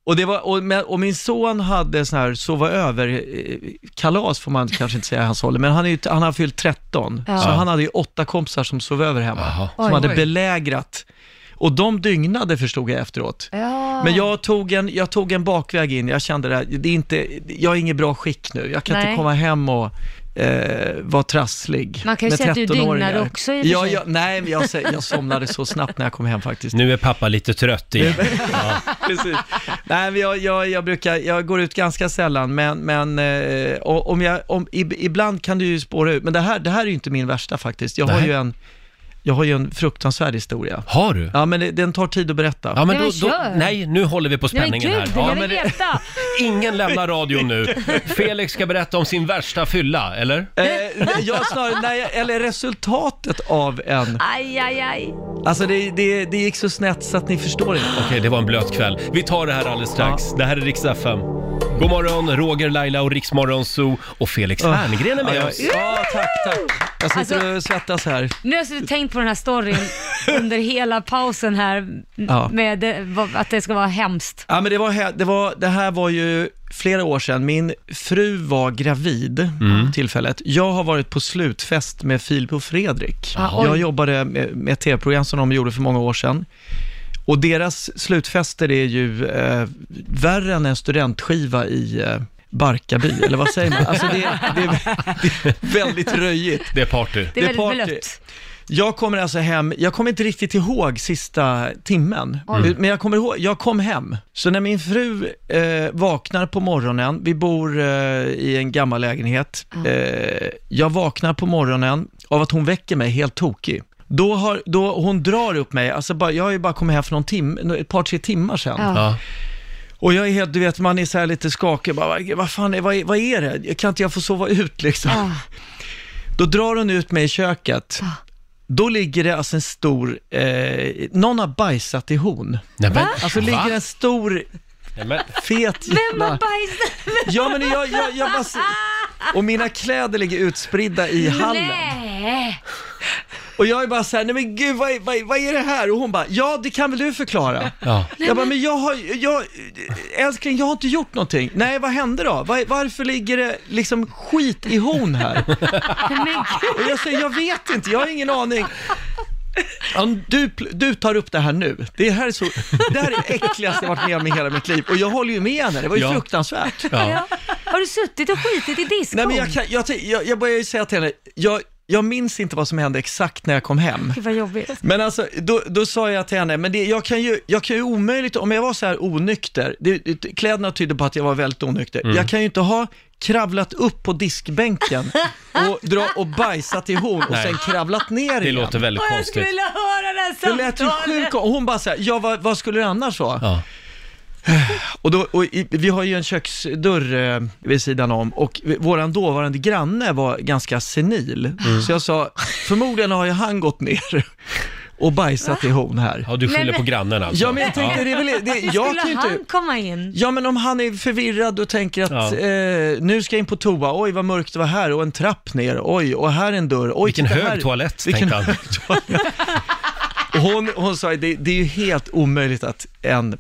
Och, det var, och, men- och min son hade sån här sova över-kalas, eh, får man kanske inte säga i hans ålder, men han, är, ju- han har fyllt 13,
Ja.
så han hade ju åtta kompisar som sov över hemma,
Jaha.
som
Oj.
hade
Oj.
belägrat. Och de dygnade förstod jag efteråt.
Ja.
Men jag tog, en, jag tog en bakväg in, jag kände det, här, det är inte, jag är inget bra skick nu, jag kan
Nej.
inte komma hem och eh, vara trasslig
Man kan ju
med
säga att du
13-åringar.
dygnade också i och för
ja,
sig.
jag, Nej, men jag, sä- jag somnade så snabbt när jag kom hem faktiskt.
Nu är pappa lite trött <laughs> igen.
Precis. Nej, men jag, jag, jag brukar, jag går ut ganska sällan, men, men eh, och- om jag, om, ib- ibland kan du ju spåra ut, men det här, det här är ju inte min värsta faktiskt. Jag har
Nej.
ju en, jag har ju en fruktansvärd historia.
Har du?
Ja, men det, den tar tid att berätta.
Ja, men
Nej,
då,
men
då,
kör.
nej, nu håller vi på
Nej men
spänningen här.
gud,
Ja,
jag
men
vill veta!
ingen lämnar radion <laughs> nu. Felix ska berätta om sin värsta fylla, eller?
Eh, jag snarare, nej, eller resultatet av en,
Aj, aj, aj.
alltså det, det, det gick så snett så att ni förstår inte.
Okej, det var en blöt kväll. Vi tar det här alldeles strax. Det här är Rix FM. God morgon, Roger, Laila och Riksmorgon Zoo och Felix Herngren är med
ja,
oss.
ja, ja, tack, tack. Jag sitter
Alltså-
och svettas här.
Nu har jag suttit och tänkt på den här
<laughs>
storyn under hela pausen här,
Ja.
med eh, vad- att det ska vara hemskt.
Ja, men det, var, he- det, var, det här var ju flera år sedan. Min fru var gravid tillfället. Jag har varit på slutfest med Filip och Fredrik.
Ah, oj.
jag jobbade med, med ett tv-program som de gjorde för många år sedan. Och deras slutfester är ju eh, värre än en studentskiva i eh, Barkarby, eller vad säger man? Alltså det, det, är, det är
<laughs>
väldigt röjigt.
Det är party.
Det är
Det är
väldigt
party.
blött.
Jag kommer alltså hem, jag kommer inte riktigt ihåg sista timmen, men jag kommer ihåg, jag kom hem. Så när min fru eh, vaknar på morgonen, vi bor eh, i en gammal lägenhet, eh, jag vaknar på morgonen av att hon väcker mig helt tokig. Då har, då hon drar upp mig, alltså bara, jag har ju bara kommit hem för någon timme, ett par tre timmar sedan.
Ja.
Ja.
Och jag är helt, du vet, man är så här lite skakig, bara, vad- vad fan, är- vad, är- vad är det? Jag Kan inte jag få sova ut liksom?
Ah.
Då drar hon ut mig i köket. Då ligger det alltså en stor, eh, någon har bajsat i hon.
Nej, men,
Alltså
va?
ligger en stor,
Nej, men,
fet
Vem har
jävla...
bajsat?
Ja men jag, jag, jag bara... s- Och mina kläder ligger utspridda i hallen.
Nej!
Och jag är bara så här, nej men gud vad är, vad, är, vad är det här? Och hon bara, ja det kan väl du förklara?
Ja.
Jag bara, men jag har, jag, älskling jag har inte gjort någonting. Nej, vad hände då? Var, varför ligger det liksom skit i hon <laughs> här? Och jag säger, jag vet inte, jag har ingen aning. Ja, Du, pl- du tar upp det här nu. Det här är, så, det här är det äckligaste jag varit med om i hela mitt liv. Och jag håller ju med henne, det var ju
Ja.
fruktansvärt.
Ja.
Har du suttit och skitit i diskon?
Nej, men jag, kan, jag, tänk- jag, jag börjar ju säga till henne, jag, jag minns inte vad som hände exakt när jag kom hem.
Gud vad jobbigt.
Men alltså, då, då sa jag till henne, men det, jag, kan ju, jag kan ju omöjligt, om jag var så här onykter, det, det, kläderna tyder på att jag var väldigt onykter,
Mm.
jag kan ju inte ha kravlat upp
<laughs>
på diskbänken och, dra, och bajsat i hon och
Nej.
sen kravlat ner
Det
igen.
låter väldigt
jag skulle
konstigt.
vilja höra det här
Det lät ju sjukt, och hon bara såhär, ja vad, vad skulle det annars vara?
Ja.
Och då, och i, vi har ju en köksdörr eh, vid sidan om och vi- våran dåvarande granne var ganska senil.
Mm.
Så jag sa, förmodligen har ju han gått ner och bajsat i hon här.
ja, du
Nej,
skyller
men-
på grannen alltså.
Ja men jag tänkte, det är väl, det, jag
Skulle
kan ju inte...
han komma in?
Ja men om han är förvirrad och tänker att
Ja.
eh, nu ska jag in på toa, oj vad mörkt det var här och en trapp ner, oj och här är en dörr, oj
Vilken
titta
hög
här.
toalett,
Vilken
tänkte han.
hög toalett. Och hon, hon sa det, det är ju helt omöjligt att en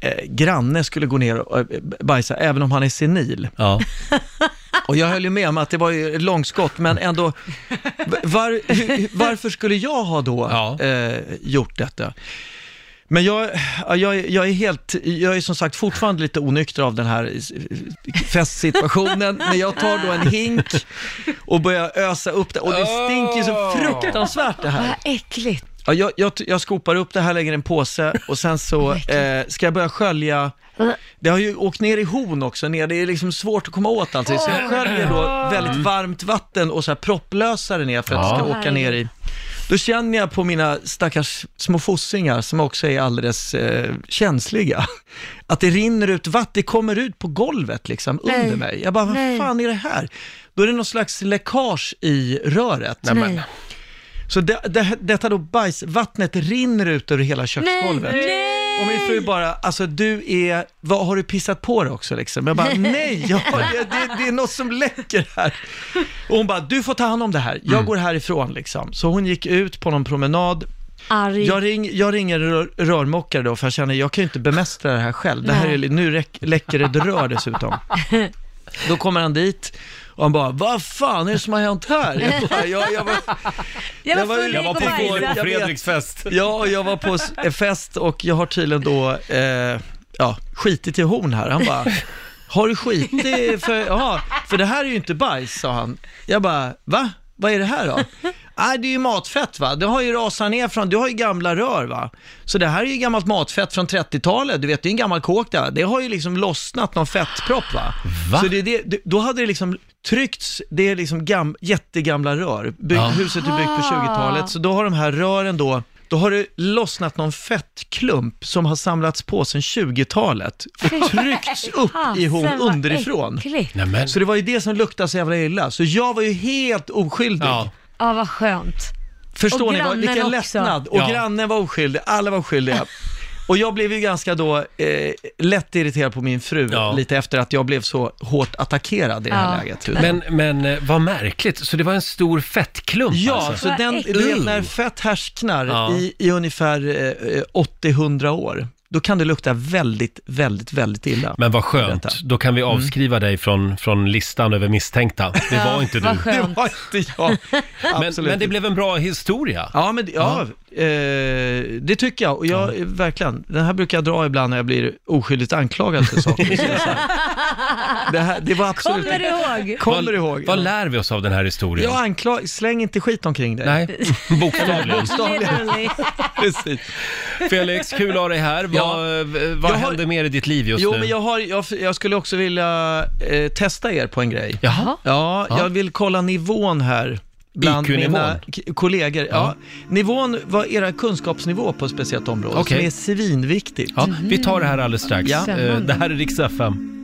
eh, granne skulle gå ner och eh, bajsa, även om han är senil.
Ja.
Och jag höll ju med om att det var ju ett långskott, men ändå, var, hur- varför skulle jag ha då
Ja.
eh, gjort detta? Men jag, ja, jag, jag är helt, jag är som sagt fortfarande lite onykter av den här festsituationen, men jag tar då en hink och börjar ösa upp det, och det stinker ju så fruktansvärt det här.
Vad äckligt.
Ja, jag, jag, jag skopar upp det här, lägger i en påse och
<laughs>
sen så eh, ska jag börja skölja. Det har ju åkt ner i hon också, ner, det är liksom svårt att komma åt allting. Så jag sköljer då
Mm.
väldigt varmt vatten och så här propplösare ner för att det
Ja.
ska åka ner i. Då känner jag på mina stackars små fossingar som också är alldeles eh, känsliga, <laughs> att det rinner ut vatten, det kommer ut på golvet liksom under mig. Jag bara, vad
Nej.
fan är det här? Då är det någon slags läckage i röret.
Nej.
Så det, det, detta då bajs, vattnet rinner ut över hela
Nej.
köksgolvet.
Nej.
Och min fru bara, alltså du är, vad har du pissat på dig också liksom? Jag bara, nej, jag, det, det, det är något som läcker här. Och hon bara, du får ta hand om det här, jag går härifrån liksom. Så hon gick ut på någon promenad.
Arg.
Jag, ring, jag ringer rör, rörmokare då, för jag känner, jag kan ju inte bemästra det här själv. Det här är, nu räck, läcker ett rör <laughs> dessutom. Då kommer han dit och han bara, vad fan är det som har hänt här? Jag, bara, jag, jag, var-
Jag
jag var-
var full
Jag var
och
på
Nej,
igår
jag
på
vet.
bajsade.
Fredriks fest.
<laughs> Ja, jag var på s- en fest och jag har tydligen då eh, ja, skitit i hon här. Han bara, har du skitit för, ja, för det här är ju inte bajs, sa han. Jag bara, va? Vad är det här då? Nej, det är ju matfett va. Det har ju rasat ner från, du har ju gamla rör va. Så det här är ju gammalt matfett från 30-talet, du vet det är en gammal kåk där. Det har ju liksom lossnat någon fettpropp va.
Va?
Så det, är det, det, då hade det liksom tryckts, det är liksom gam, jättegamla rör. Bygg,
Ja.
Huset är
Ah.
byggt på 20-talet, så då har de här rören då, då har det lossnat någon fettklump som har samlats på sedan 20-talet och tryckts upp i hon
Fasen, vad
underifrån.
Ah, äckligt.
Nämen.
Så det var ju det som luktade så jävla illa, så jag var ju helt oskyldig.
Ja.
Ja, vad skönt.
Förstår
Och
ni vad,
grannen
vilken
också.
lättnad? Och
Ja.
grannen var oskyldig, alla
<laughs>
var oskyldiga. Och jag blev ju ganska då eh, lätt irriterad på min fru
Ja.
lite efter att jag blev så hårt attackerad i det här
Ja.
läget.
Men, men eh, vad märkligt, så det var en stor fettklump
Ja,
alltså?
så
Vad
den,
äckligt.
du vet när fett härsknar
Ja.
i, i ungefär eh, eh, 80-100 år, då kan det lukta väldigt, väldigt, väldigt illa.
Men vad skönt,
Berätta.
då kan vi avskriva dig från, från listan över misstänkta. Det var inte du.
Vad
det
skönt.
var inte
<laughs>
jag.
Men,
Absolut.
men det blev en bra historia.
Ja, men, ja, Eh, det tycker jag. Och jag, verkligen, den här brukar jag dra ibland när jag blir oskyldigt anklagad
<laughs>
för saker. Så jag säger, det, här, det var absolut...
Kommer du ihåg?
Kommer
vad,
du ihåg?
Vad lär vi oss av den här historien?
jag anklag, släng inte skit omkring
<laughs>
dig.
Nej, bokstavligen.
Literally.
<laughs> precis.
Felix, kul att ha dig här. Vad, eh, vad
Jag har-
händer mer i ditt liv just
Jo,
nu?
men jag, har, jag, jag skulle också vilja eh, testa er på en grej.
Jaha.
Ja,
Ja.
jag vill kolla nivån här. Bland
IQ-nivån.
mina k- kollegor. Ja.
Ja.
Nivån var era kunskapsnivå på ett speciellt område,
Okej.
som är svinviktigt.
Ja, vi tar det här alldeles strax.
Ja.
Eh, Det här är Rix FM.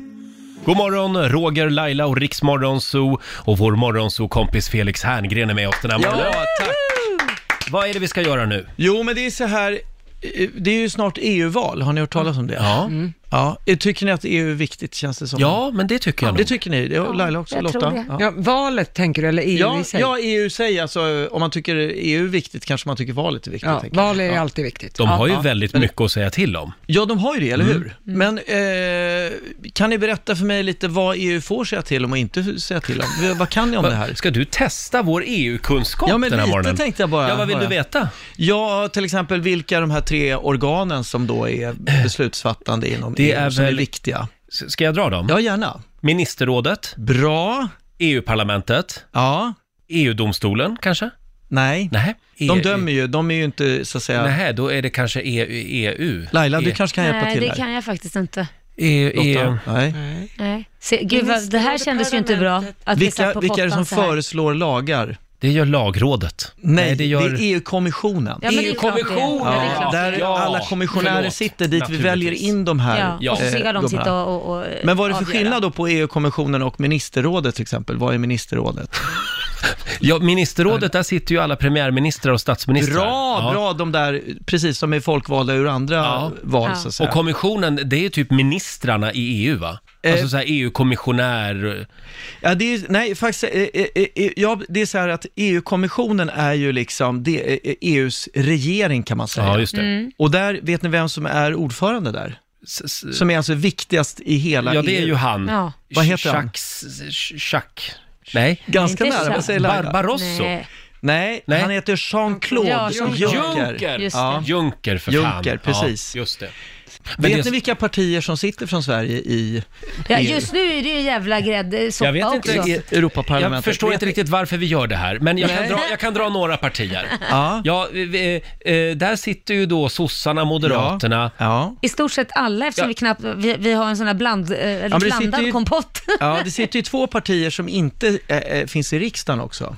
God morgon, Roger, Laila och Rix Morgonzoo. Och vår morgonzoo-kompis Felix Herngren är med oss den här morgonen.
Ja, tack.
Vad är det vi ska göra nu?
E Jo, men det är så här, eh, det är ju snart EU-val, har ni hört talas om det?
Mm.
Ja.
Ja, tycker ni att EU är viktigt känns det som?
Ja, men det tycker jag
Det
nog.
tycker ni? Det- och Laila också,
jag
Lotta?
tror det.
Ja.
Ja, valet tänker du, eller EU
Ja,
E i sig?
ja, E EU säger alltså, om man tycker EU är viktigt kanske man tycker valet är viktigt.
Ja,
tänker jag.
val är ju
ja.
alltid viktigt.
De har ju
Ja.
väldigt mycket att säga till om.
ja, de har ju det, eller
Mm.
hur? Men eh, kan ni berätta för mig lite vad EU får säga till om och inte säga till om? V- Vad kan ni om det här?
Ska du testa vår EU-kunskap
Ja, men
den här
lite
morgonen?
tänkte jag bara
Ja, vad vill du
höra.
veta?
Ja, till exempel vilka de här tre organen som då är beslutsfattande inom
Eh. Det
EU
är
som är
väl-
viktiga?
S- Ska jag dra dem?
Ja, gärna.
Ministerrådet, E
Bra.
EU-parlamentet,
Ja.
EU-domstolen E kanske?
Nej.
Nej. E
De dömer ju, de är ju inte så att säga...
Nej, då är det kanske EU. EU.
Laila, du
E-
kanske kan hjälpa
Nej,
till
det
här?
kan jag faktiskt inte.
EU, EU.
Lotta? Nej.
Nej.
Nej. Se, gud, vad, det här kändes ju inte bra. Att vi satt
Vilka,
på
vilka är det
pottan
som
så här.
föreslår lagar?
Det gör lagrådet.
Nej, det,
det gör...
är E EU-kommissionen.
Ja, men det är klart det.
EU-kommissionen!
Ja, det är klart det.
där
Ja,
alla kommissionärer
förlåt.
sitter dit vi väljer
Naturligtvis.
in de här.
Ja, och så
eh,
ska de
gubbarna.
sitta och, och, och
Men vad är det för
avgöra.
skillnad då på EU-kommissionen och ministerrådet till exempel? Vad är ministerrådet?
Ja, ministerrådet, där sitter ju alla premiärministrar och statsministrar.
Bra,
Ja.
bra de där, precis som är folkvalda ur andra
Ja.
val
Ja.
så att säga.
Och kommissionen, det är typ ministrarna i EU va? Alltså
Eh.
såhär EU-kommissionär...
Ja, det är, nej, faktiskt, eh, eh, eh, ja, det är så här att EU-kommissionen är ju liksom det, eh, eh, EUs regering kan man säga.
Ja, just det.
Mm.
Och där, vet ni vem som är ordförande där?
S- s-
Som är alltså viktigast i hela E
Ja, det är
EU.
ju han.
Ja.
Vad heter han?
Jacques... Jacques- Jacques... Nej.
Ganska
Inte
nära,
sant.
vad säger Laila?
Barbarosso.
Nej,
Nej,
Nej.
han heter Jean-Claude
Ja,
Juncker.
Jean-Claude. Just det.
Ja.
Juncker för fan.
Juncker, precis.
Ja, just det. Men
Vet
det-
ni vilka partier som sitter från Sverige i
ja,
EU?
just nu är det ju jävla
Jag vet
gräddsoppa
inte,
också.
är-
I Europaparlamentet?
Jag förstår
Vet
inte
ni-
riktigt varför vi gör det här, men jag kan
Nej.
dra, jag kan dra några partier.
Ja.
Ja, vi- eh, eh, där sitter ju då sossarna, moderaterna.
Ja.
I stort sett alla eftersom
Ja.
vi knappt, vi, vi har en sån här bland, eh,
det sitter
blandad
ju- <laughs>
kompott.
ja, det sitter ju två partier som inte eh, eh, finns i riksdagen också.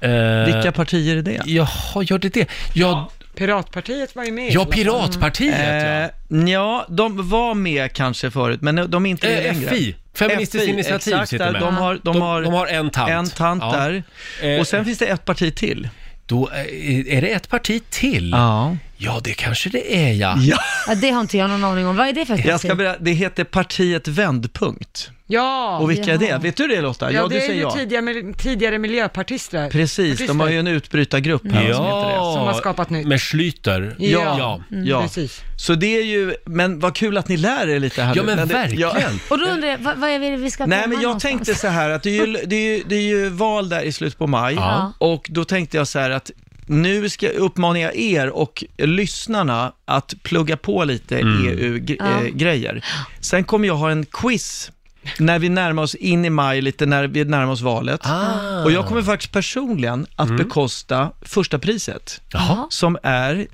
Eh,
Vilka partier är det?
Jaha, gör det det? Ja,
Piratpartiet var ju med.
ja Piratpartiet ja.
Eh, ja, de var med kanske förut, men de är inte med
Eh,
längre.
FI, Feministiskt initiativ
exakt,
sitter
där.
med.
De har, de,
De-
har
de har en tant.
En tant
Ja.
där.
Eh,
Och sen finns det ett parti till.
Då eh, är det ett parti till.
Ja.
Ja, det kanske det är ja.
Ja, det har inte jag någon aning om. Vad är det för
Jag ska
parti?
berätta, det heter partiet Vändpunkt.
Ja,
Och vilka är det?
Jaha.
Vet du det Lotta?
ja,
du
det är
säger
ju
ja.
tidigare, mil- tidigare miljöpartister.
Precis, de har ju en utbrytargrupp här som heter det.
Som har skapat nytt.
Med Schlüter.
Ja.
ja.
Ja.
Mm, Precis.
Så det är ju, men vad kul att ni lär er lite här
Ja,
nu.
men
det- ja.
verkligen.
Och då undrar jag, vad, vad är det vi ska
<laughs> Nej
komma
men jag
någonstans?
tänkte så här att det är, ju, det, är ju, det är ju val där i slutet på maj
Ja.
och då tänkte jag så här att nu ska uppmanar jag er och lyssnarna att plugga på lite
Mm.
E
Ja.
EU-grejer. eh, Sen kommer jag ha en quiz när vi närmar oss in i maj, lite när vi närmar oss valet.
Ah.
Och jag kommer faktiskt personligen att bekosta första priset,
Mm. Jaha,
som är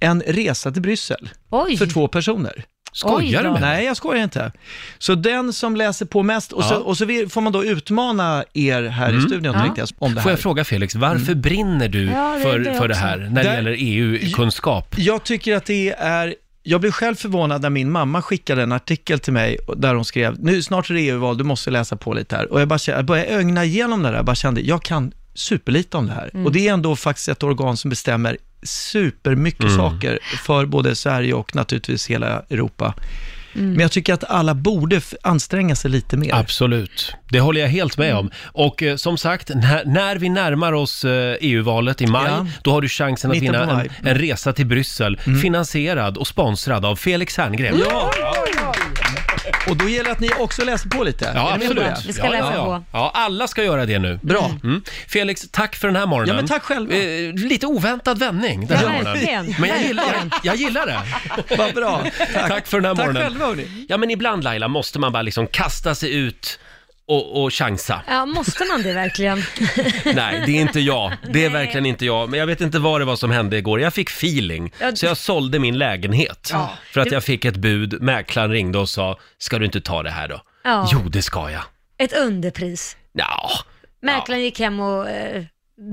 en resa till Bryssel
Oj,
för två personer.
skojar
Oj
du
då.
med mig?
Nej, jag skojar inte. Så den som läser på mest, och,
Ja. Mm.
så, och så vi- får man då utmana er här i studion tänkte jag, om det
Får
här. Mm.
jag fråga Felix, varför brinner du
Ja, det
för,
undrar jag
för det
också.
här när det
Där-
gäller EU-kunskap?
Jag tycker att det är jag blev själv förvånad när min mamma skickade en artikel till mig där hon skrev, nu snart är det EU-val, du måste läsa på lite här. Och jag, bara, kände- jag började ögna igenom det där, jag bara kände, jag kan superlite om det här. Och det är ändå faktiskt ett organ som bestämmer supermycket saker för både Sverige och naturligtvis hela Europa. Men jag tycker att alla borde f- anstränga sig lite mer.
Absolut, det håller jag helt med
Mm.
om. Och eh, som sagt, när, när vi närmar oss eh, EU-valet i maj,
Ja.
då har du chansen att
Mitten på
vinna
maj. Mm.
en, en resa till Bryssel, finansierad och sponsrad av Felix Herngren.
Ja! Och då gäller det att ni också läser på lite.
Ja,
Är ni med på
absolut.
det?
Vi ska
ja,
läsa
ja, ja.
på.
Ja, alla ska göra det nu.
Bra.
Mm. Felix, tack för den här morgonen.
Ja, men tack själva.
Eh, lite oväntad vändning den här
Ja,
morgonen.
verkligen.
Men jag gillar, jag, jag gillar det.
Vad bra.
Tack, för den här
Tack
morgonen.
själva hörni.
Ja, men ibland Laila måste man bara liksom kasta sig ut och, och chansa.
Ja, måste man det verkligen?
Nej, det är inte jag. Det är verkligen inte jag. Men jag vet inte vad det var som hände igår. Jag fick feeling,
Ja, det-
så jag sålde min lägenhet. För att jag fick ett bud. Mäklaren ringde och sa, ska du inte ta det här då?
<laughs>
Ja.
Jo, det ska jag.
Ett underpris.
Ja.
Mäklaren gick hem och eh,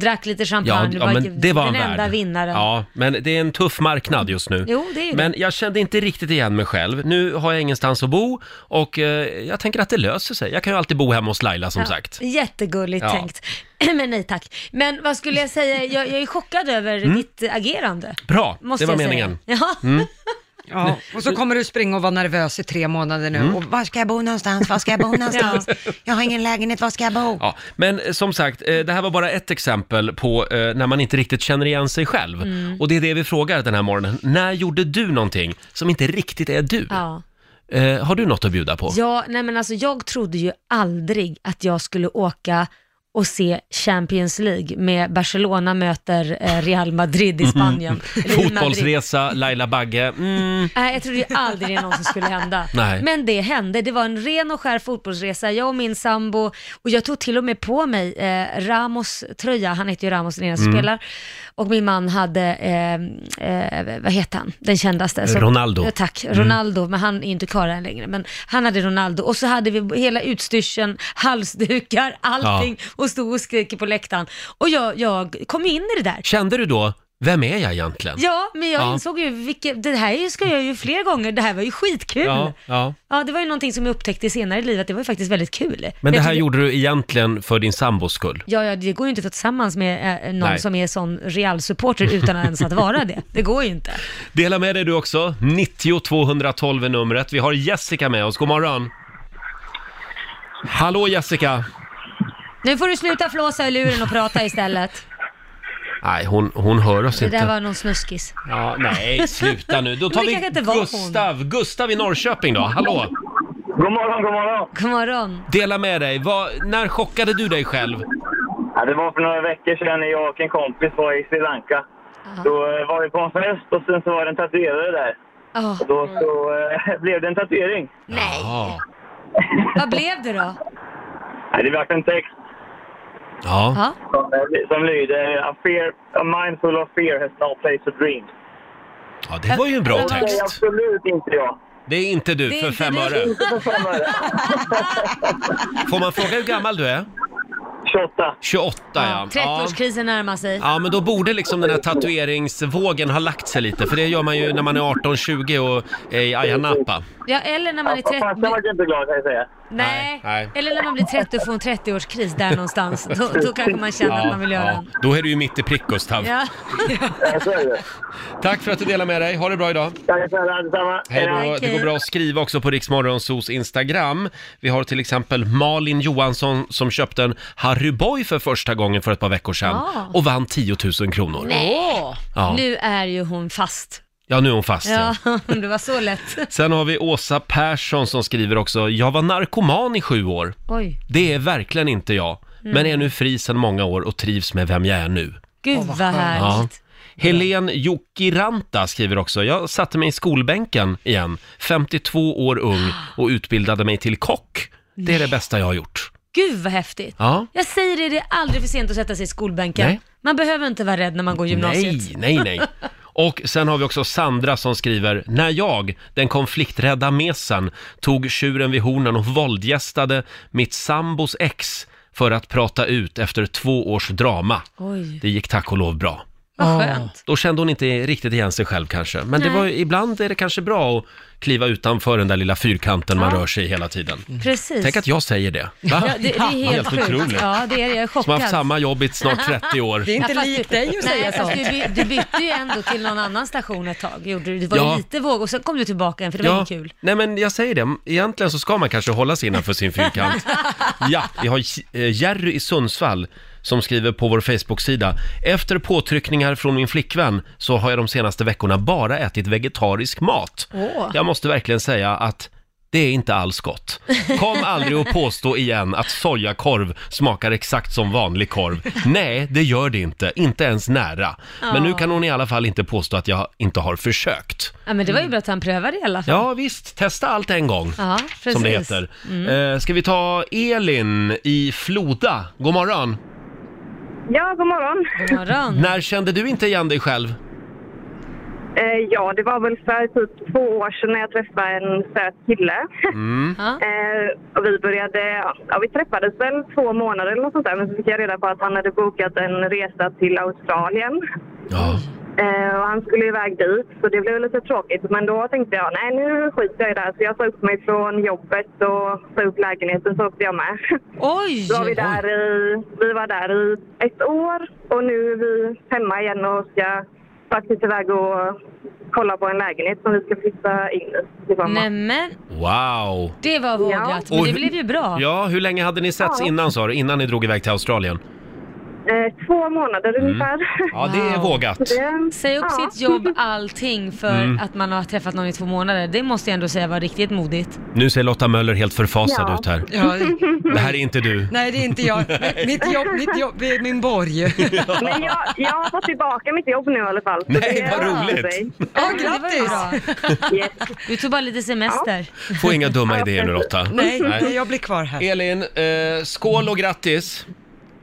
drack lite
Ja,
champagne.
ja,
Bara,
men det var
den
han
enda
värd.
vinnaren.
Ja, men det är en tuff marknad just nu.
Jo, det är ju
Men jag kände inte riktigt igen mig själv. Nu har jag ingenstans att bo och eh, jag tänker att det löser sig. Jag kan ju alltid bo hemma hos Laila som
Ja,
sagt.
Jättegulligt
Ja.
tänkt. <clears throat> Men nej tack. Men vad skulle jag säga, jag, jag är chockad över ditt agerande.
Bra,
Måste
Mm. det var
jag
meningen. Mm.
Säga. Ja.
Ja, och så kommer du springa och vara nervös i tre månader nu.
Mm.
Och var ska jag bo någonstans? Var ska jag bo
<laughs>
någonstans? Jag har ingen lägenhet, var ska jag bo?
Ja, men eh, som sagt, eh, det här var bara ett exempel på eh, när man inte riktigt känner igen sig själv.
Mm.
Och det är det vi frågar den här morgonen. När gjorde du någonting som inte riktigt är du?
Ja.
Eh, har du något att bjuda på?
Ja, nej men alltså jag trodde ju aldrig att jag skulle åka och se Champions League med Barcelona möter eh, Real Madrid
Mhm.
i
<laughs>
Spanien. Eller i Madrid.
Fotbollsresa, Laila Bagge. Mm.
Nej, jag trodde ju aldrig det någonsin skulle hända.
Nej.
Men det hände. Det var en ren och skär fotbollsresa. Jag och min sambo, och jag tog till och med på mig eh, Ramos tröja. Han heter ju Ramos, den ena
Mm.
som spelar. Och min man hade, eh, eh, vad heter han, den kändaste? som-
Ronaldo. Mm.
Ja, tack, Ronaldo, men han är inte kvar än längre. Men han hade Ronaldo. Och så hade vi hela utstyrseln, halsdukar, allting. Och stod och skrek på läktaren. Och jag, jag kom in i det där.
Kände du då, vem är jag egentligen?
Ja, men jag
Ja.
insåg ju, vilket, det här ska jag ju fler gånger, det här var ju skitkul.
ja,
Ja.
ja.
det var ju någonting som jag upptäckte senare i livet, det var ju faktiskt väldigt kul.
Men det
Jag
här
tyckte-
gjorde du egentligen för din sambos skull?
Ja, ja, det går ju inte att vara tillsammans med eh, någon
Nej.
som är sån Real-supporter utan att ens att vara det. Det går ju inte.
Dela med dig du också. 90 212 är numret. Vi har Jessica med oss. God morgon. Hallå Jessica!
Nu får du sluta flåsa i luren och prata istället.
Nej, hon, hon hör oss
Det
inte.
där var någon snuskis.
Ja, nej, sluta nu. Då tar
Men det kanske
vi
inte var hon.
Gustav. Gustav i Norrköping då. Hallå!
<laughs> God morgon, god morgon.
God morgon.
Dela med dig. Vad- när chockade du dig själv?
Ja, det var för några veckor sedan när jag och en kompis var i Sri Lanka. Då eh, var vi på en fest och sen så var det en tatuerare där.
Ja.
Och
Mm.
då så eh, <laughs> blev det en tatuering.
Nej,
Ja.
vad blev det då?
Nej, det vart en text
Ja.
Ja.
som, eh, som lyder A, fear, a mindful of fear has no place to dream.
ja, det var ju en bra
Det var-
Det är
text.
absolut inte jag.
Det är inte du
Det är
för
inte
fem
du.
öre.
Inte för fem öre.
Får man fråga hur gammal du är?
28.
28 ja.
Ja, 30-årskrisen närmar sig.
Ja, men då borde liksom den här tatueringsvågen ha lagt sig lite, för det gör man ju när man är 18-20 och är i Ayia Napa.
Ja, eller när man är
Ja, Farsan
30.
vart inte glad kan jag säga.
Nej.
Nej.
eller när man blir 30 och får en 30-årskris där någonstans. Då,
<laughs>
då kanske man känner att man vill göra en.
Då är du ju mitt i prick, Gustav.
Ja.
Ja, så är det.
Tack för att du delar med dig. Ha det bra idag.
Tack snälla, detsamma.
Hej
Hej
då.
Tack,
Det går
hej.
bra att skriva också på Riksmorgonsos Instagram. Vi har till exempel Malin Johansson som köpte en Harry Boy för första gången för ett par veckor sedan
Ah.
och vann 10 000 kronor. Ja.
Nu är ju hon fast.
ja, nu är hon fast. Ja.
Ja, <laughs> det var så lätt.
Sen har vi Åsa Persson som skriver också, jag var narkoman i sju år.
Oj,
Det är verkligen inte jag, men är nu fri sedan många år och trivs med vem jag är nu.
gud vad härligt.
Helen Jokiranta skriver också, jag satte mig i skolbänken igen, 52 år ung och utbildade mig till kock. Det är det bästa jag har gjort.
Gud vad häftigt.
Ja.
Jag säger det, det är aldrig för sent att sätta sig i skolbänken.
Nej.
Man behöver inte vara rädd när man går gymnasiet.
Nej, nej, nej. Och sen har vi också Sandra som skriver, när jag, den konflikträdda mesen, tog tjuren vid hornen och våldgästade mitt sambos ex för att prata ut efter två års drama.
Oj,
Det gick tack och lov bra.
vad skönt.
Då kände hon inte riktigt igen sig själv kanske. Men det
Nej.
var, ibland är det kanske bra att kliva utanför den där lilla fyrkanten man
Ja.
rör sig i hela tiden.
Precis.
Tänk att jag säger det. Va?
ja, det, det är helt,
otroligt.
sjukt. Ja, det är det. Jag är
Som har
chockad.
haft samma jobb i snart 30 år.
Det är inte
Ja, fast
likt
du-
dig att säga
Nej, fast
sånt.
du, by- du bytte ju ändå till någon annan station ett tag. Gjorde du. Det var
Ja.
ju lite våg och sen kom du tillbaka igen för det var
Ja,
ju kul.
nej men jag säger det, egentligen så ska man kanske hålla sig innanför sin fyrkant. Ja, vi har eh, Jerry i Sundsvall som skriver på vår Facebook-sida. Efter påtryckningar från min flickvän så har jag de senaste veckorna bara ätit vegetarisk mat.
Åh.
Jag måste verkligen säga att det är inte alls gott. Kom aldrig och påstå igen att sojakorv smakar exakt som vanlig korv. Nej, det gör det inte. Inte ens nära. Men nu kan hon i alla fall inte påstå att jag inte har försökt.
Ja, men det var ju bra att han prövade i alla fall.
Ja, visst. Testa allt en gång.
Ja, precis.
Som det heter. Eh, ska vi ta Elin i Floda? God morgon.
Ja, god morgon.
God morgon.
När kände du inte igen dig själv?
Eh, ja, det var väl för typ två år sedan när jag träffade en söt kille.
Mm.
Ja.
<laughs> Eh, och vi började, ja vi träffades väl två månader eller något sånt där. Men så fick jag reda på att han hade bokat en resa till Australien.
Ja.
Eh, och han skulle iväg dit, så det blev lite tråkigt. Men då tänkte jag, nej nu skiter jag i det här. Så jag sa upp mig från jobbet och sa upp lägenheten så åkte jag med. <laughs>
Oj!
Då var vi, där i, vi var där i ett år och nu är vi hemma igen och ska faktiskt iväg och kollar på en lägenhet som vi ska flytta in i tillsammans.
Nämen,
Wow!
det var vågat. Men
Och
det
hur-
blev ju bra.
Ja, hur länge hade ni setts
Ja.
innan sa du? Innan ni drog iväg till Australien?
Eh, två månader ungefär.
Mm.
<laughs> Eh,
Ja, det är
Wow.
vågat.
Det-
Säg upp
ja.
sitt jobb, allting för
Mm.
att man har träffat någon i två månader. Det måste jag ändå säga var riktigt modigt.
Nu ser Lotta Möller helt förfasad
Ja.
ut här.
Ja,
Det här är inte du.
nej, det är inte
<laughs>
jag. Mitt jobb, mitt jobb är min borg.
Men jag, jag har fått tillbaka mitt jobb nu i alla fall. Så
Nej,
det
vad
rör
roligt.
sig.
Ja,
Det var ju
grattis!
bra.
Yes.
Du tog bara lite semester.
Få inga dumma idéer nu Lotta.
Nej, nej, jag blir kvar här.
Elin, eh, skål och grattis!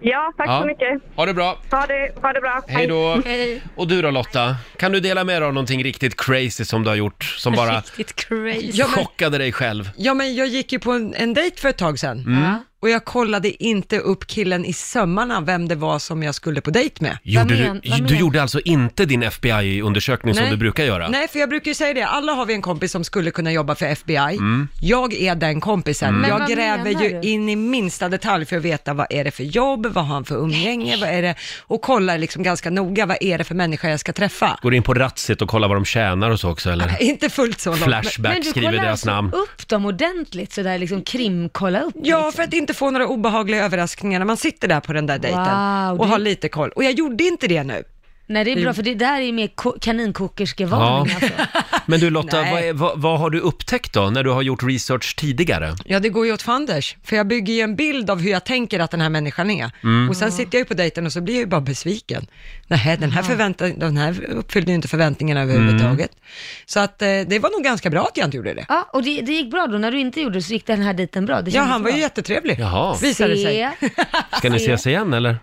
Ja, tack
Ja.
så mycket.
Ha det bra!
Ha det, ha det bra.
Hej då!
Hej.
Och du då Lotta, kan du dela med dig av någonting riktigt crazy som du har gjort, som bara
Riktigt crazy.
Ja, men,
chockade dig själv?
ja, men jag gick ju på en, en dejt för ett tag sedan
Mm.
Ja.
och jag kollade inte upp killen i sömmarna, vem det var som jag skulle på dejt med.
Gjorde du,
men- vad
du
men-
gjorde alltså inte din FBI-undersökning som
Nej.
du brukar göra?
Nej, för jag brukar ju säga det, alla har vi en kompis som skulle kunna jobba för FBI. Jag är den kompisen.
Mm. Men
Jag
vad
gräver
menar
ju
du?
in i minsta detalj för att veta vad är det för jobb, vad har han för umgänge, vad är det, och kollar liksom ganska noga, vad är det för människa jag ska träffa. <laughs>
Går in på Ratsit och kollar vad de tjänar och så också eller?
Inte fullt så långt. men-
Flashback skriver
kollar
deras
alltså
namn.
upp dem ordentligt sådär liksom krimkolla upp?
Ja, för att inte få några obehagliga överraskningar när man sitter där på den där dejten
Wow,
och
det-
har lite koll. Och jag gjorde inte det nu.
Nej det är bra för det där är ju mer ko- kaninkokerskevarning
Ja.
alltså.
Men du Lotta,
Nej.
vad, är, vad, vad har du upptäckt då när du har gjort research tidigare?
Ja, det går ju åt fanders, för jag bygger ju en bild av hur jag tänker att den här människan är.
Mm.
Och sen sitter jag ju på dejten och så blir jag ju bara besviken. Nej, den här, förvänta, den här uppfyllde ju inte förväntningarna överhuvudtaget.
Mm.
Så att eh, det var nog ganska bra att jag inte gjorde det.
<laughs> Ja, och det, det gick bra då när du inte gjorde det så gick den här dejten bra? Det
Ja,
kändes
han var
bra.
ju jättetrevlig,
Jaha.
visade det sig.
Se.
Ska ni
Se.
ses igen eller?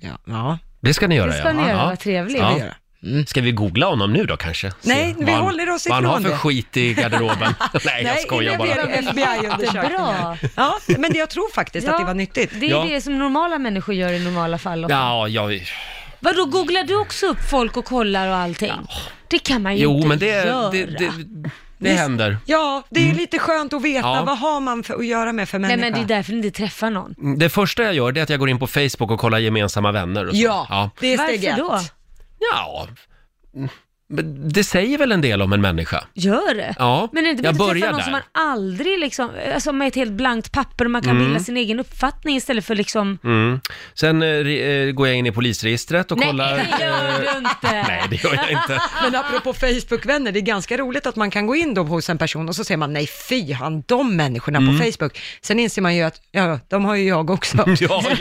Ja, ja.
Det ska ni göra
Det ska ni
ja.
göra,
Ja.
vad trevligt.
Ja.
göra.
Ska vi googla honom nu då kanske? Se
Nej, vi
vad han-
håller oss
Vad han har
ifrån
för
det.
skit i garderoben. Nej, jag skojar bara.
blev FBI-undersökningar.
Jättebra.
Ja, men jag tror faktiskt att det var nyttigt.
Det är
Ja.
det som normala människor gör i normala fall. också.
Ja, jag...
Vadå, googlar du också upp folk och kollar och allting? Det kan man ju
Jo,
inte
men det,
göra.
det, det, det händer.
Ja, det är lite skönt att veta
Mm. Ja.
vad har man för, att göra med för
Nej,
människa.
men det är därför ni inte träffar någon.
Det första jag gör det är att jag går in på Facebook och kollar gemensamma vänner. Och så.
Ja,
ja.
det är steg
Varför
ett.
då?
Ja, men det säger väl en del om en människa?
Gör det?
Ja,
Men är det inte
jag
bättre att
börjar
träffa någon
där.
som man aldrig liksom, alltså med ett helt blankt papper och man kan bilda sin egen uppfattning istället för liksom...
Mm. Sen eh, re- eh, går jag in i polisregistret och
Nej,
kollar...
det gör du inte!
<laughs> Nej, det gör jag inte.
Men apropå Facebook-vänner, det är ganska roligt att man kan gå in då hos en person och så ser man, nej fy han, de människorna på Facebook. Sen inser man ju att, ja, de har ju jag också.
Ja, just
<laughs>
det.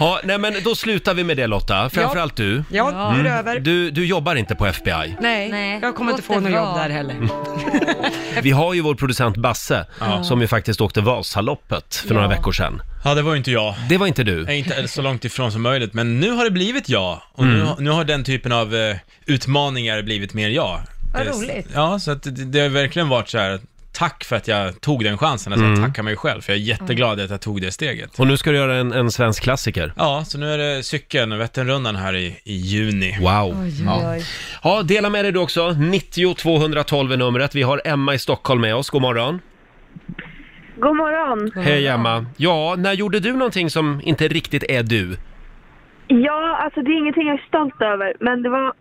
ja, nej, men då slutar vi med det Lotta, framförallt du.
Ja, nu är det över.
Du, du jobbar inte på FBI.
Nej,
Mm. Nej,
jag kommer inte
låt
få
det
något jobb
vara.
där heller.
Vi har ju vår producent Basse, som ju faktiskt åkte Vasaloppet för några
Ja.
veckor sedan.
Ja, det var ju inte jag.
Det var inte du.
Jag är inte så långt ifrån som möjligt, men nu har det blivit jag. Och nu, har- nu har den typen av eh, utmaningar blivit mer jag.
Vad
Eh, s-
roligt.
Ja, så att det, det har verkligen varit så här, tack för att jag tog den chansen. Alltså, jag tackar mig själv, för jag är jätteglad att jag tog det steget.
Och nu ska du göra en, en svensk klassiker.
Ja, så nu är det cykeln, Vätternrundan här i, i juni.
Wow.
Oj, oj, oj.
Ja, dela med dig du också. 90 212 är numret. Vi har Emma i Stockholm med oss. God morgon.
God morgon.
Hej Emma. Ja, när gjorde du någonting som inte riktigt är du?
Ja, alltså det är ingenting jag är stolt över, men det var...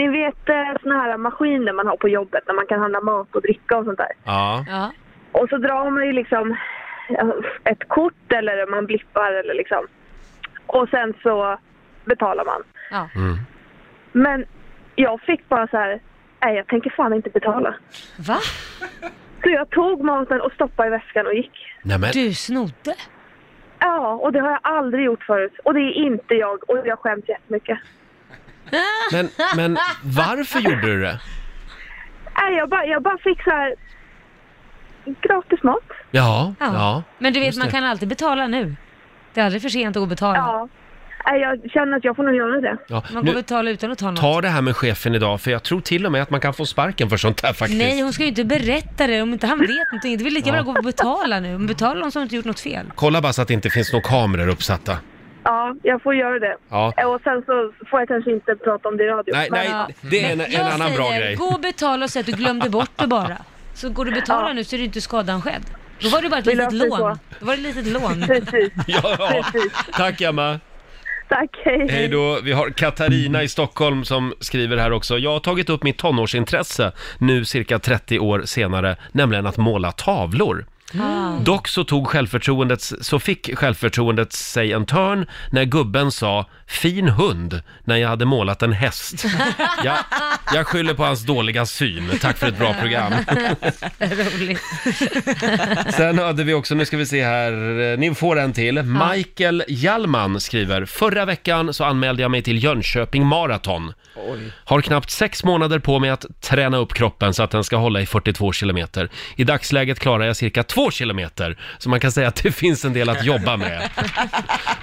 Ni vet eh, såna här maskiner man har på jobbet där man kan handla mat och dricka och sånt där.
Ja.
Ja.
Och så drar man ju liksom eh, ett kort eller man blippar eller liksom. Och sen så betalar man.
Ja.
Men jag fick bara så här, nej jag tänker fan inte betala.
Va?
Så jag tog maten och stoppade i väskan och gick.
Nej, men.
Du snodde?
Ja, och det har jag aldrig gjort förut. Och det är inte jag och jag skäms jättemycket.
Men, men varför gjorde du det?
Nej, jag bara, jag bara fick så här gratis mat.
Ja,
Ja.
ja.
Men du vet,
just
man
det.
kan alltid betala nu. Det är aldrig för sent att betala.
Ja. Nej, jag känner att jag får nog göra det.
ja.
Man går
Nu,
betala utan att ta något.
ta det här med chefen idag, för jag tror till och med att man kan få sparken för sånt här faktiskt.
Nej, hon ska ju inte berätta det om inte han vet någonting. Det vill lika bra gå och betala nu. Hon betalar om som inte gjort något fel.
Kolla bara så att det inte finns några kameror uppsatta.
Ja, jag får göra det. Eh,
Ja.
Och sen så får jag kanske inte prata om det i radio.
Nej,
Men-
nej,
Ja.
det är en,
Men
en
jag
annan
säger,
bra grej.
Gå och betala och säg att du glömde bort det bara. Så går du och betalar
Ja.
nu så är det inte skadan skedd. Då var det bara ett
Vi
litet
löser
lån. <laughs>
det så.
Då var det ett litet lån.
Precis.
Ja, tack Emma.
Tack, hej.
Hej då, vi har Katarina i Stockholm som skriver här också. Jag har tagit upp mitt tonårsintresse nu cirka 30 år senare, nämligen att måla tavlor. Dock så tog självförtroendet, så fick självförtroendet sig en törn när gubben sa “fin hund” när jag hade målat en häst. Jag, jag skyller på hans dåliga syn. Tack för ett bra program.
Roligt.
Sen hade vi också, nu ska vi se här, eh, ni får en till. Michael Hjalman skriver, förra veckan så anmälde jag mig till Jönköping Marathon. Har knappt sex månader på mig att träna upp kroppen så att den ska hålla i 42 kilometer. I dagsläget klarar jag cirka två kilometer, så man kan säga att det finns en del att jobba med.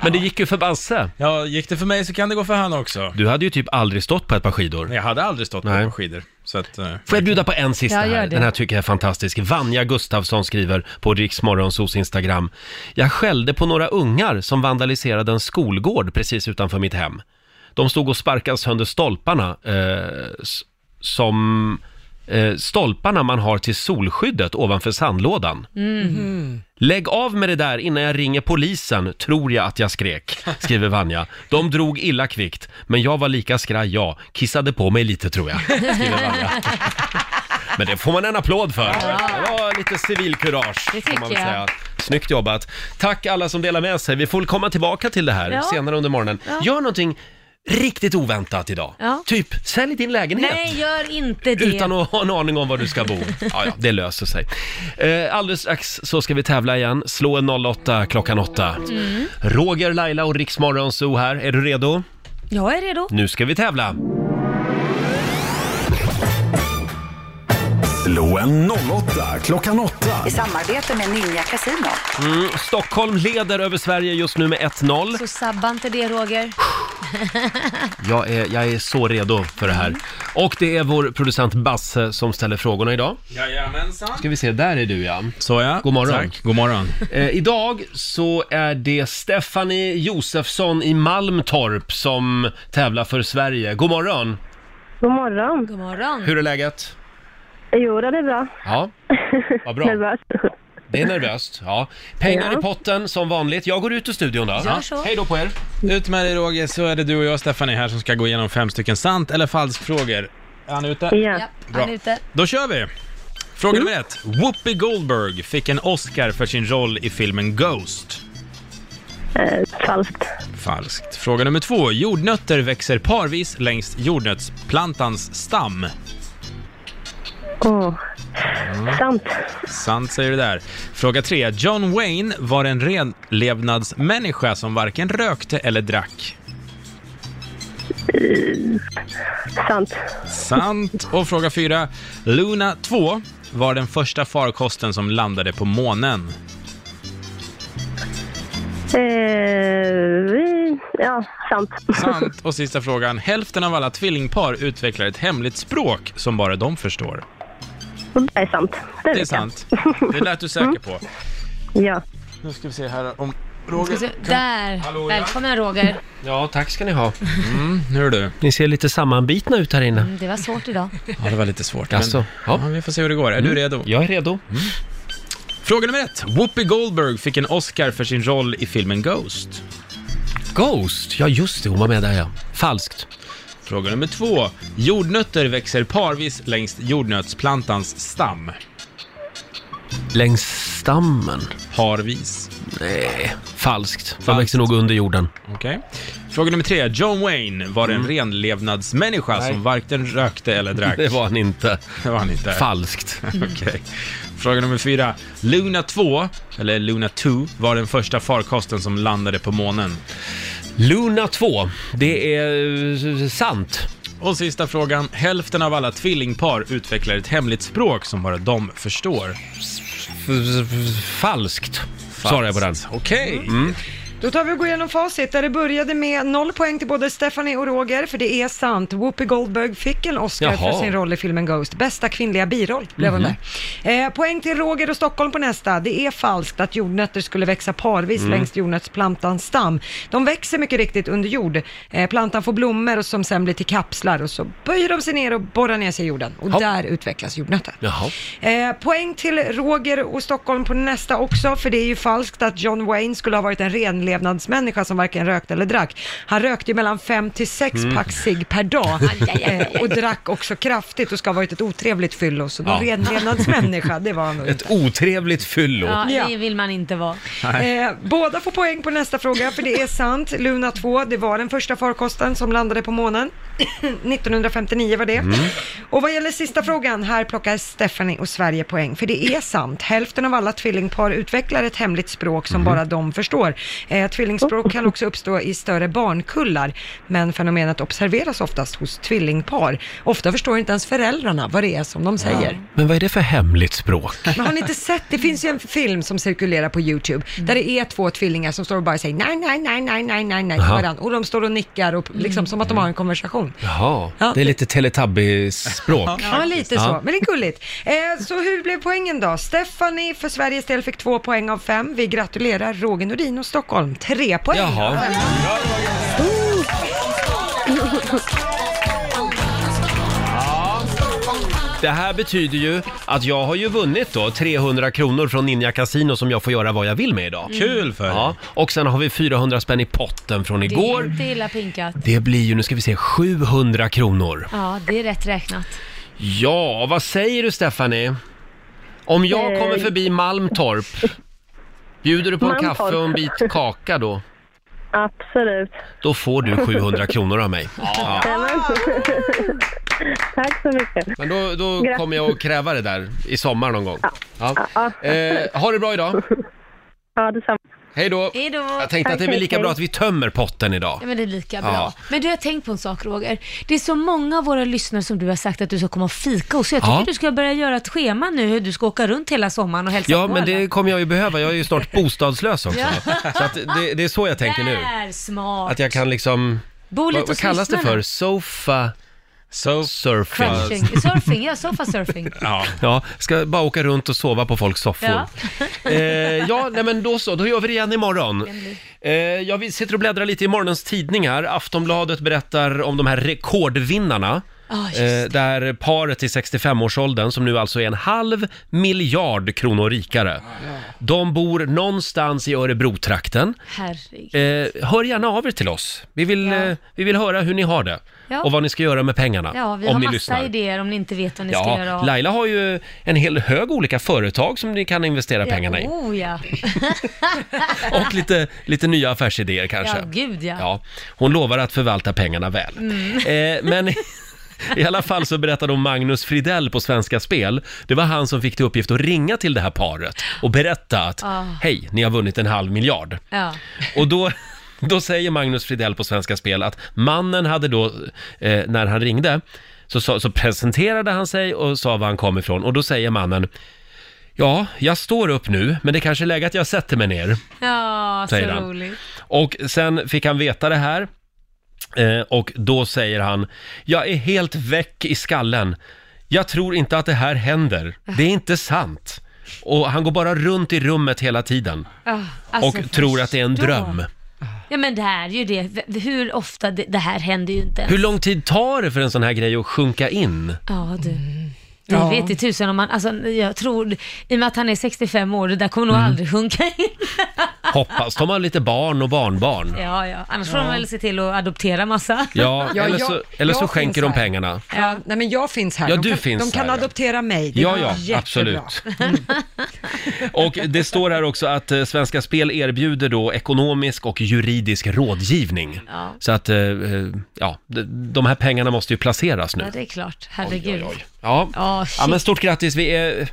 Men det gick ju för Basse.
Ja, gick det för mig så kan det gå för han också.
Du hade ju typ aldrig stått på ett par skidor.
Jag hade aldrig stått
Nej.
på ett par skidor. Så att, eh,
Får jag bjuda på en sista
Ja, gör
här?
det.
Den här tycker jag är fantastisk. Vanja Gustafsson skriver på Riksmorgonsos Instagram. Jag skällde på några ungar som vandaliserade en skolgård precis utanför mitt hem. De stod och sparkade sönder stolparna eh, s- som eh, stolparna man har till solskyddet ovanför sandlådan. Lägg av med det där innan jag ringer polisen, tror jag att jag skrek, skriver Vanja. De drog illa kvickt, men jag var lika skraj jag. Kissade på mig lite tror jag, skriver Vanja. Men det får man en applåd för. Det var lite civilkurage,
Det
får man väl
tycker jag.
säga. Snyggt jobbat. Tack alla som delar med sig. Vi får komma tillbaka till det här
Ja.
senare under morgonen. Gör någonting riktigt oväntat idag.
Ja.
Typ, sälj din lägenhet.
Nej, gör inte det.
Utan att ha en aning om var du ska bo. Ja, ja, det löser sig. Eh, alldeles strax så ska vi tävla igen. Slå en 08 klockan 8. Roger, Laila och Riksmorgon Zoo här. Är du redo?
Jag är redo.
Nu ska vi tävla.
Slå en 08 klockan 8.
I samarbete med Ninja Casino.
Mm, Stockholm leder över Sverige just nu med 1-0.
Så sabba inte det Roger.
Jag är, jag är så redo för det här. Och det är vår producent Basse som ställer frågorna idag.
Jajamensan.
Ska vi se, där är du ja.
Såja.
God morgon.
Tack. God morgon.
Eh, idag så är det Stephanie Josefsson i Malmtorp som tävlar för Sverige. God morgon!
God morgon.
God morgon.
Hur är läget?
Jo, det är bra.
Ja, <laughs> vad bra.
Nervös.
Det är nervöst. Ja. Pengar i potten som vanligt. Jag går ut ur studion då. Ja.
så.
Hej då på er.
<laughs> Ut med dig Roger, så är det du och jag Stephanie här som ska gå igenom fem stycken sant eller falskfrågor. Är han ute?
<laughs> Ja.
Ja, han är ute.
Då kör vi! Fråga nummer ett. Whoopi Goldberg fick en Oscar för sin roll i filmen Ghost.
Eh, falskt.
Falskt. Fråga nummer två. Jordnötter växer parvis längs jordnötsplantans stam.
Åh. Sant.
Sant säger du där. Fråga tre. John Wayne var en renlevnadsmänniska som varken rökte eller drack.
Sant.
Sant. Och fråga fyra. Luna 2 var den första farkosten som landade på månen.
Eh, vi- ja, sant. <laughs>
Sant. Och sista frågan. Hälften av alla tvillingpar utvecklar ett hemligt språk som bara de förstår.
Det är sant.
Det är
vet jag.
sant. Det lät du säker på.
Ja.
Nu ska vi se här om
Ska
Roger...
se- Där.
Hallå, ja.
Välkommen Roger.
Ja, tack ska ni ha.
Nu är du.
Ni ser lite sammanbitna ut här inne.
Mm, Det var svårt idag.
Ja, det var lite svårt.
Alltså, ja.
ja. vi får se hur det går. Är du redo?
Jag är redo. Mm.
Fråga nummer ett. Whoopi Goldberg fick en Oscar för sin roll i filmen Ghost.
Ghost! Ja, just det. Hon var med där ja. Falskt.
Fråga nummer två. Jordnötter växer parvis längs jordnötsplantans stam.
Längs stammen.
Parvis.
Nej, falskt. De växer nog under jorden.
Okej. Fråga nummer tre. John Wayne var en renlevnadsmänniska som varken
<laughs>
rökte eller drack.
Mm. Det var han inte.
Det var han inte.
Falskt.
<laughs> Okej. Fråga nummer fyra. Luna 2, eller Luna 2, var den första farkosten som landade på månen.
Luna 2. Det är eh, sant.
Och sista frågan. Hälften av alla tvillingpar utvecklar ett hemligt språk som bara de förstår.
F- f- Falskt. Svarar jag på den.
Okej.
Mm.
Då tar vi och går igenom facit där det började med noll poäng till både Stephanie och Roger, för det är sant. Whoopi Goldberg fick en Oscar
Jaha. Mhm.
för sin roll i filmen Ghost. Bästa kvinnliga biroll blev hon där. Eh, poäng till Roger och Stockholm på nästa. Det är falskt att jordnötter skulle växa parvis
Mm.
längs jordnötsplantans stam. De växer mycket riktigt under jord. Eh, plantan får blommor och som sen blir till kapslar och så böjer de sig ner och borrar ner sig i jorden och
Hopp.
där utvecklas jordnötter.
Jaha.
Eh, poäng till Roger och Stockholm på nästa också, för det är ju falskt att John Wayne skulle ha varit en renlevnadsmänniska överlevnadsmänniska som varken rökte eller drack. Han rökte ju mellan fem till sex pack cigg per dag
Mm. aj, aj, aj.
eh, och drack också kraftigt och ska ha varit ett otrevligt fyllo. Så någon
Ja.
överlevnadsmänniska, det var han nog inte.
Ett otrevligt fyllo.
Ja,
Ja.
det vill man inte vara.
Eh, båda får poäng på nästa fråga, för det är sant. Luna 2, det var den första farkosten som landade på månen. <clears throat> 1959 var det. Och vad gäller sista frågan, här plockar Stephanie och Sverige poäng, för det är sant. Hälften av alla tvillingpar utvecklar ett hemligt språk som bara de förstår. Eh, tvillingspråk kan också uppstå i större barnkullar, men fenomenet observeras oftast hos tvillingpar. Ofta förstår inte ens föräldrarna vad det är som de säger.
Men vad är det för hemligt språk?
Men har ni inte sett, det finns ju en film som cirkulerar på YouTube
Mm.
där det är två tvillingar som står och bara säger nej, nej, nej, nej, nej, nej, nej till
Jaha. Mm.
varandra. Och de står och nickar och liksom som att de har en konversation.
Jaha,
Ja.
det är lite Teletubbies-språk.
Ja, lite
Ja.
så. Men det är gulligt. Eh, så hur blev poängen då? Stephanie för Sveriges del fick två poäng av fem. Vi gratulerar Roger Nordin och Stockholm. Tre poäng.
Jaha. Det här betyder ju att jag har ju vunnit då 300 kronor från Ninja Casino som jag får göra vad jag vill med idag.
Kul för
Ja,
dig.
och sen har vi 400 spänn i potten från
Det
igår.
är inte illa pinkat.
Det blir ju, nu ska vi se, 700 kronor.
Ja, det är rätt räknat.
Ja, vad säger du Stephanie? Om jag kommer förbi Malmtorp, bjuder du på en
Malmtorp.
kaffe och en bit kaka då?
Absolut.
Då får du <laughs> 700 kronor av mig. Ja.
Ah! <laughs> Tack så mycket.
Men då, då
Grattis.
kommer jag att kräva det där i sommar någon gång. Ja.
Ja.
Eh, ha det bra idag.
Ja, detsamma.
Hej då.
Hej då.
Jag tänkte att det är
Tack,
väl lika
hej.
bra att vi tömmer potten idag.
Ja, men det är lika bra.
Ja.
Men du, jag har tänkt på en sak Roger. Det är så många av våra lyssnare som du har sagt att du ska komma och fika hos. Så jag tycker
Ja.
du ska börja göra ett schema nu hur du ska åka runt hela sommaren och hälsa
Ja,
på
men
alla.
det kommer jag ju behöva. Jag är ju snart bostadslös också. Så att det, det är så jag tänker nu.
Där, smart.
Att jag kan liksom...
Bo lite
Vad, vad
hos
kallas det för?
lyssnarna.
Sofa
So,
surfing?
Crunching. Surfing, ja, sofa surfing.
ja.
<laughs> Ja, ska bara åka runt och sova på folks soffor.
Ja.
eh, ja nej men då så, då gör vi det igen imorgon. Eh, ja, vi sitter och bläddrar lite i morgonens tidningar. Aftonbladet berättar om de här rekordvinnarna.
Ah, just
Eh, där paret i 65-årsåldern, som nu alltså är en halv miljard kronor rikare, de bor någonstans i Örebrotrakten.
Herregud.
Eh, hör gärna av er till oss. Vi vill,
Ja.
eh, vi vill höra hur ni har det
Ja.
och vad ni ska göra med pengarna.
Ja, vi
om
har
ni
massa
lyssnar.
idéer om ni inte vet vad ni ska göra
Ja,
av.
Laila har ju en hel hög olika företag som ni kan investera
<laughs>
pengarna i.
Oh ja.
Och lite, lite nya affärsidéer kanske.
Ja, gud ja. Mm.
Ja, hon lovar att förvalta pengarna väl. Eh, men <laughs> i alla fall så
<laughs>
berättade om Magnus Fridell på Svenska Spel. Det var han som fick till uppgift att ringa till det här paret och berätta att
Ah.
hej, ni har vunnit en halv miljard.
ja.
Och då, <laughs> då säger Magnus Fridell på Svenska Spel att mannen hade då, eh, när han ringde, så, sa- så presenterade han sig och sa var han kom ifrån. Och då säger mannen, ja, jag står upp nu, men det kanske är läge att jag sätter mig ner.
Ja, så
Säger han.
roligt.
Och sen fick han veta det här. Eh, och då säger han, jag är helt väck i skallen. Jag tror inte att det här händer. Det är inte sant. Och han går bara runt i rummet hela tiden
Ja,
och
alltså,
tror att det är en
förstå.
dröm.
Ja, men det här är ju det. V- Hur ofta, det, det här händer ju inte ens.
Hur lång tid tar det för en sån här grej att sjunka in?
Ja, du. Det vet i tusen om man, alltså jag tror, i och med att han är 65 år, det där kommer nog
Mm.
aldrig sjunka in.
Hoppas de har lite barn och barnbarn.
Ja, ja. Annars får de väl se till att adoptera massa.
Ja,
Ja,
eller
jag-
så, eller så
jag
skänker
finns
de
här.
pengarna.
Ja, Eh, nej men jag finns här.
Ja,
de
du
kan,
finns
de kan
här, ja.
adoptera mig. Det
Ja,
är
ja,
jättebra.
absolut.
<laughs>
Mm. Och det står här också att eh, Svenska Spel erbjuder då ekonomisk och juridisk rådgivning.
Ja.
Så att, eh, eh, ja, de- de här pengarna måste ju placeras nu.
Ja, det är klart. Herregud.
Ja,
Ja,
ja
shit.
men stort grattis, vi är,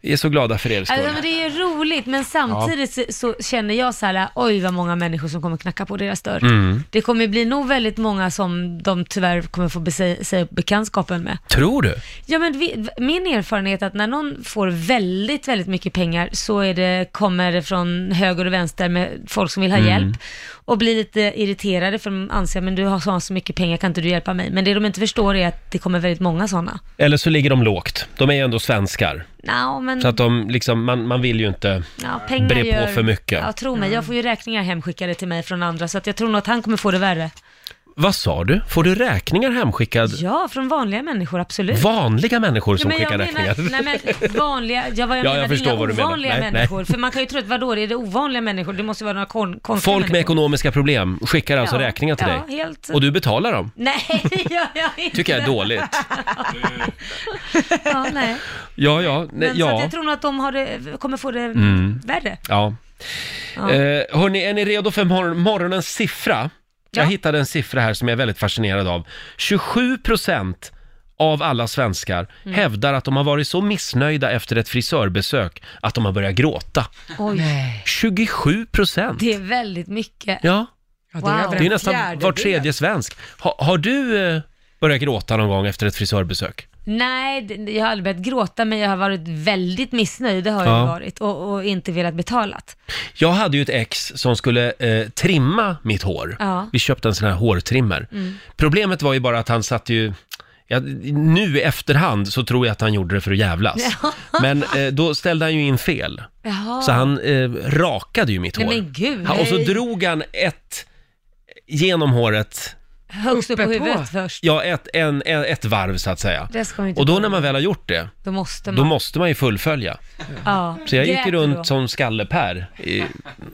vi är så glada för er
Alltså, men
skull.
det är ju roligt, men samtidigt så, så känner jag så här, oj vad många människor som kommer knacka på deras dörr. Det kommer bli nog väldigt många som de tyvärr kommer få bese- säga upp bekantskapen med.
Tror du?
Ja, men vi, min erfarenhet är att när någon får väldigt, väldigt mycket pengar så är det, kommer det från höger och vänster med folk som vill ha hjälp och blir lite irriterade för de anser men du har så, så mycket pengar, kan inte du hjälpa mig? Men det de inte förstår är att det kommer väldigt många sådana.
Eller så ligger de lågt. De är ju ändå svenskar.
No, men
Så att de liksom, man, man vill ju inte...
ja, pengar
bre på
gör,
för mycket.
Ja, tro mig, jag får ju räkningar hemskickade till mig från andra så att jag tror nog att han kommer få det värre.
Vad sa du? Får du räkningar hemskickad?
Ja, från vanliga människor, absolut.
Vanliga människor som
men jag
skickar
menar,
räkningar?
nej men vanliga, ja, vad
<laughs>
jag
Ja, jag
menar,
förstår
inga
vad du menar.
ovanliga
Nej, nej.
människor. För man kan ju tro att vadå, är det ovanliga människor? Det måste ju vara några kon- konstiga
Folk med
människor.
ekonomiska problem skickar alltså
Ja,
räkningar till
ja,
dig?
helt-
Och du betalar dem?
Nej, <laughs> det gör jag inte.
tycker jag är
<laughs>
dåligt.
Ja, nej.
Ja, ja. Nej,
Men så att
ja.
jag tror nog att de har det, kommer få det
Mm.
värre.
ja.
Ja.
Eh, hörni, är ni redo för mor- morgonens siffra? Jag
Ja.
hittade en siffra här som jag är väldigt fascinerad av. 27 procent av alla svenskar
Mm.
hävdar att de har varit så missnöjda efter ett frisörbesök att de har börjat gråta.
Oj,
27 procent!
det är väldigt mycket.
Ja,
Ja,
Wow.
över en
det är nästan
fjärdedel.
var tredje svensk. Ha, har du eh, börjat gråta någon gång efter ett frisörbesök?
Nej, det- jag har aldrig börjat gråta, men jag har varit väldigt missnöjd, det har
Ja.
jag varit, och, och inte velat betalat.
Jag hade ju ett ex som skulle eh, trimma mitt hår.
Ja. Mm.
Vi köpte en sån här hårtrimmer. Problemet var ju bara att han satt ju... Ja, nu i efterhand så tror jag att han gjorde det för att jävlas.
<laughs>
Men eh, då ställde han ju in fel.
Jaha.
Så han eh, rakade ju mitt
Nej,
hår.
men gud.
Ja, och så
Nej.
drog han ett genom håret,
Högst upp på
Uppe på.
huvudet först.
ja ett, en, en, ett varv så att säga.
Det Mm. ska man ju inte
Och då
göra.
när man väl har gjort det,
Då måste man.
då måste man ju fullfölja.
ja.
Så jag gick
Grät
ju
du
runt
då?
som skallepär i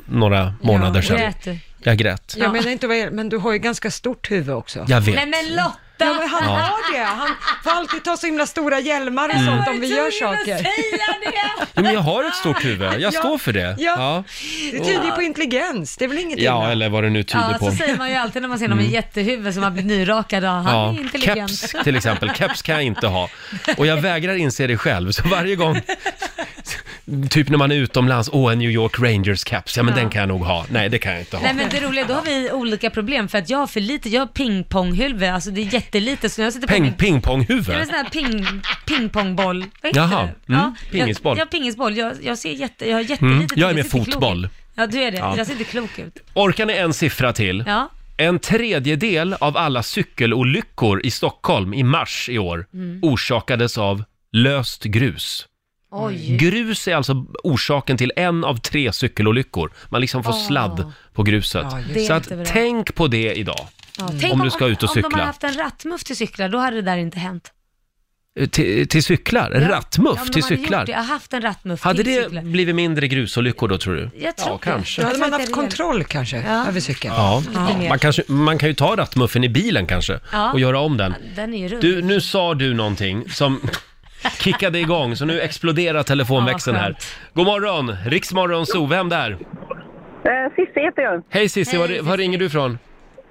några månader
Ja,
sedan.
grät du?
Jag grät.
Jag menar inte vad jag- men du har ju ganska stort huvud också.
Jag vet.
Nej men
Ja,
Lotta!
men han har det. Han får alltid ta så himla stora hjälmar och
Mm.
sånt om vi gör saker.
Jo, men jag har ett stort
<laughs>
huvud. Jag står för det.
Ja.
Ja,
Det tyder ju på intelligens. Det är väl inget
ja
illa?
eller vad det nu tyder
Ja,
på. Mm.
så säger man ju alltid när man ser någon med jättehuvud som har blivit nyrakad, ja, han
Ja,
är intelligent.
keps till exempel. Keps kan jag inte ha. Och jag vägrar inse det själv, så varje gång... <laughs> Typ när man är utomlands, åh en New York Rangers-keps, ja men
Ja.
den kan jag nog ha. Nej, det kan jag inte ha.
Nej men det roliga, då har vi olika problem för att jag har för lite, jag har pingponghuvud, alltså det är jättelite så när jag sitter på
Peng,
min Det är en
pingponghuvud?
sån här ping, pingpongboll. Vad heter
Jaha,
det?
mm, pingisboll.
Jag, jag pingisboll. Jag, jag ser jätte, jag har jättelitet
Mm,
huvud.
jag är
Det
med
ser inte klok
fotboll.
ut. Ja, du är det.
Ja.
Jag ser inte klok ut.
Orkar ni en siffra till?
Ja.
En tredjedel av alla cykelolyckor i Stockholm i mars i år
Mm.
orsakades av löst grus.
Oj.
Grus är alltså orsaken till en av tre cykelolyckor. Man liksom får
Åh.
sladd på gruset.
Ja, just
det.
Så
Det är
att
inte bra.
tänk på det idag.
Ja, tänk
Om du ska ut och
Om de
cykla.
hade haft en rattmuff till cyklar, då hade det där inte hänt.
Eh, Till, till cyklar? En rattmuff
Ja, om de
till
hade
cyklar?
Gjort det, jag har haft en rattmuff
Hade
till
det
cyklar.
blivit mindre grusolyckor då tror du?
Jag tror
ja,
det.
kanske.
Då hade
Jag tror
man
att
haft
det är det.
kontroll kanske
Ja.
över cykeln.
Ja.
Lite mer.
Man, kanske, man kan ju ta rattmuffen i bilen kanske
Ja.
och göra om den.
Den är ju rund.
Du, nu sa du någonting som kickade igång, så nu exploderar telefonväxeln
Ja,
här.
skönt.
God morgon, Riksmorgon Zoo, vem där?
Eh, Cissi heter jag.
Hej Cissi,
Hej,
var, var ringer du ifrån?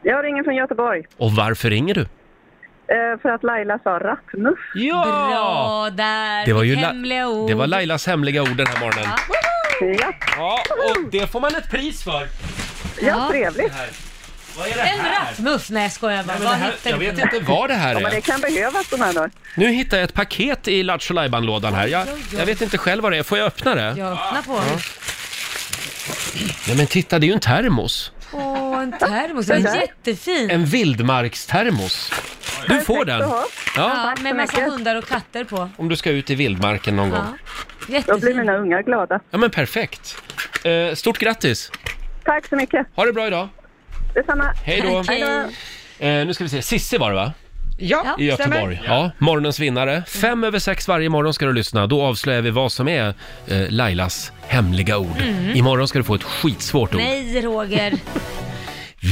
Jag ringer från Göteborg
Och varför ringer du?
eh, för att Laila sa rattmuff.
Ja!
Bra där!
Det var ju
Mitt
La-
hemliga ord.
det var Lailas hemliga ord den här morgonen.
Ja,
Ja, och det får man ett pris för.
ja trevligt.
Vad är det
En rattmuff! Nej, jag skojar bara.
Men
Vad
det här,
hittar
jag
du
vet
på den?
inte vad det här
Ja, men det
är.
kan behövas sådana här dagar.
Nu hittade jag ett paket i Lattjo lådan här. Jag, jag vet inte själv vad det är. Får jag öppna det?
Jag öppnar på den.
Nej men titta, det är ju en termos.
Åh, en termos. Den är jättefin.
En vildmarkstermos. Du får den.
Jaha,
Ja,
Ja, med massa
mycket.
hundar och katter på.
om du ska ut i vildmarken någon gång.
Ja.
då blir
Jättefin.
mina ungar glada.
Ja men perfekt. Eh, stort grattis.
Tack så mycket.
Ha det bra idag.
Detsamma.
Hej då.
Okej.
Eh, nu ska vi se. Sissi var det va?
Ja,
I Göteborg.
stämmer.
Ja, morgonens vinnare. Fem över sex varje morgon ska du lyssna. Då avslöjar vi vad som är eh, Lailas hemliga ord. Imorgon ska du få ett skitsvårt ord.
Nej, Roger.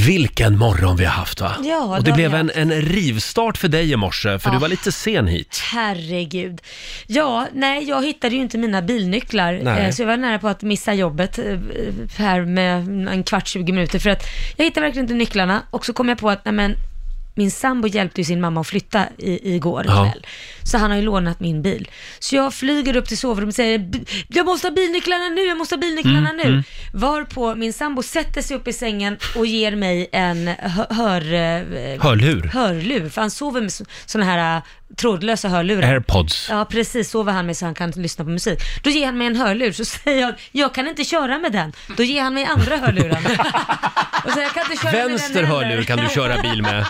Vilken morgon vi har haft va?
Ja, det
Och det
har vi
blev en, en rivstart för dig i morse, för du var lite sen hit.
Herregud. Ja, nej, jag hittade ju inte mina bilnycklar.
Nej.
eh, Så jag var nära på att missa jobbet eh, här med en kvart, 20 minuter. För att jag hittade verkligen inte nycklarna och så kom jag på att, nej men, min sambo hjälpte ju sin mamma att flytta i, igår
Ja.
kväll. Så han har ju lånat min bil. Så jag flyger upp till sovrummet och säger, "B- jag måste ha bilnycklarna nu, jag måste ha bilnycklarna
Mm,
nu. Varpå min sambo sätter sig upp i sängen och ger mig en hö- hör... eh,
Hörlur.
hörlur, för han sover med sådana här äh, trådlösa hörlurar.
Airpods.
Ja, precis. Sover han med så han kan lyssna på musik. Då ger han mig en hörlur, så <laughs> säger jag, jag kan inte köra med den. Då ger han mig andra
<laughs>
hörluren. Och så, jag kan inte köra
Vänster
med den heller."
hörlur kan du köra bil
<laughs>
med.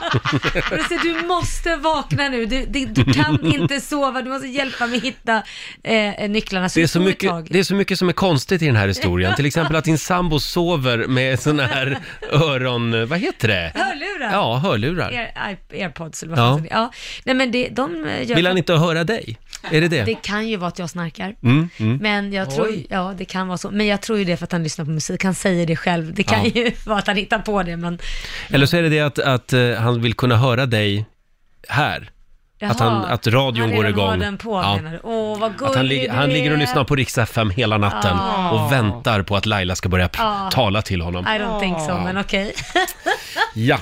Och då säger, jag, du måste vakna nu, du, du, du kan
<laughs>
inte sova, du måste hjälpa mig hitta eh, nycklarna.
Det är,
det
så
tog ett
mycket,
tag.
det är så mycket som är konstigt i den här historien. Till exempel att din sambo sover med sån här öron... Vad heter det?
Hörlurar.
Ja, hörlurar.
Air, I- airpods eller vad
Ja.
heter det? Ja. Nej men det, de eh, gör...
Vill han inte höra dig? Är det
Det
det?
kan ju vara att jag snarkar.
Mm, mm.
Men jag tror, ja det kan vara så. Men jag tror ju det för att han lyssnar på musik. Han säger det själv. Det kan
Ja.
ju <laughs> vara att han hittar på det men...
Eller så är det det att, att eh, han vill kunna höra dig här. Att han- att radion
han
går
redan har
igång.
den på
Ja.
menar du? Åh vad gullig
Att han, lig-
du
han ligger och
är.
lyssnar på Rix FM hela natten
Ja.
och väntar på att Laila ska börja pr-
Ja.
tala till honom.
I don't think so, men okej.
Ja.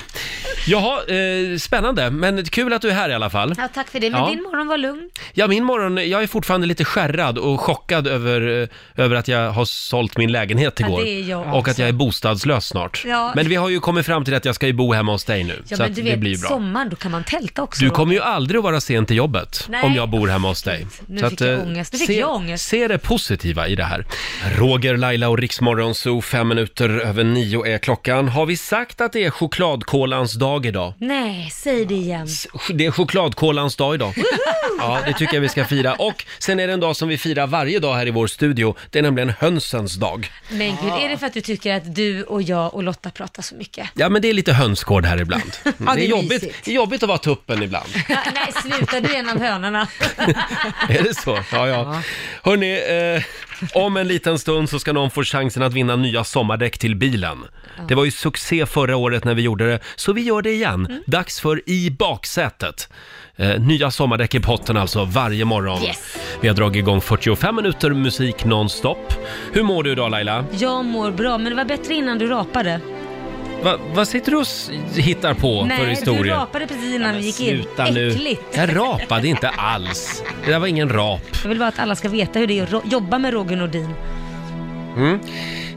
Jaha, eh, spännande. Men kul att du är här i alla fall.
Ja, tack för det. Men
Ja.
din morgon var lugn.
Ja, min morgon, jag är fortfarande lite skärrad och chockad över, eh, över att jag har sålt min lägenhet
Ja,
igår.
det är jag
och
också.
att jag är bostadslös snart.
Ja.
Men vi har ju kommit fram till att jag ska ju bo hemma hos dig nu.
Ja,
så
men
att
du
det
vet,
blir ju bra.
sommaren, då kan man tälta också.
Du
då.
kommer ju aldrig att vara sen till jobbet
Nej.
om jag bor hemma hos dig.
Nu fick jag
eh,
ångest. Nu fick
se,
jag ångest.
Se det positiva i det här. Roger, Laila och Riksmorgon Zoo, fem minuter över nio är klockan. Har vi sagt att det är chokladkolans dag idag?
Nej, säg det igen.
S- Det är chokladkolans dag idag. Ja, det tycker jag vi ska fira. Och sen är det en dag som vi firar varje dag här i vår studio. Det är nämligen hönsens dag.
Men gud, är det för att du tycker att du och jag och Lotta pratar så mycket?
Ja, men det är lite hönsgård här ibland.
det är
det, är jobbigt,
mysigt.
det är jobbigt att vara tuppen ibland.
Ja, nej, sluta, du är en av hönorna.
Är det så? Ja, ja. Hörni, eh, om en liten stund så ska någon få chansen att vinna nya sommardäck till bilen. Det var ju succé förra året när vi gjorde det, så vi gör det igen.
Mm.
Dags för I baksätet. Eh, nya sommardäck i potten alltså, varje morgon.
Yes.
Vi har dragit igång 45 minuter musik nonstop. Hur mår du idag Laila?
Jag mår bra, men det var bättre innan du rapade.
Va, vad sitter du och s- hittar på för
nej,
historia?
du rapade precis innan vi gick in.
Sluta nu.
Äckligt.
Jag rapade inte alls. Det där var ingen rap.
Jag vill bara att alla ska veta hur det är att ro- jobba med Roger Nordin.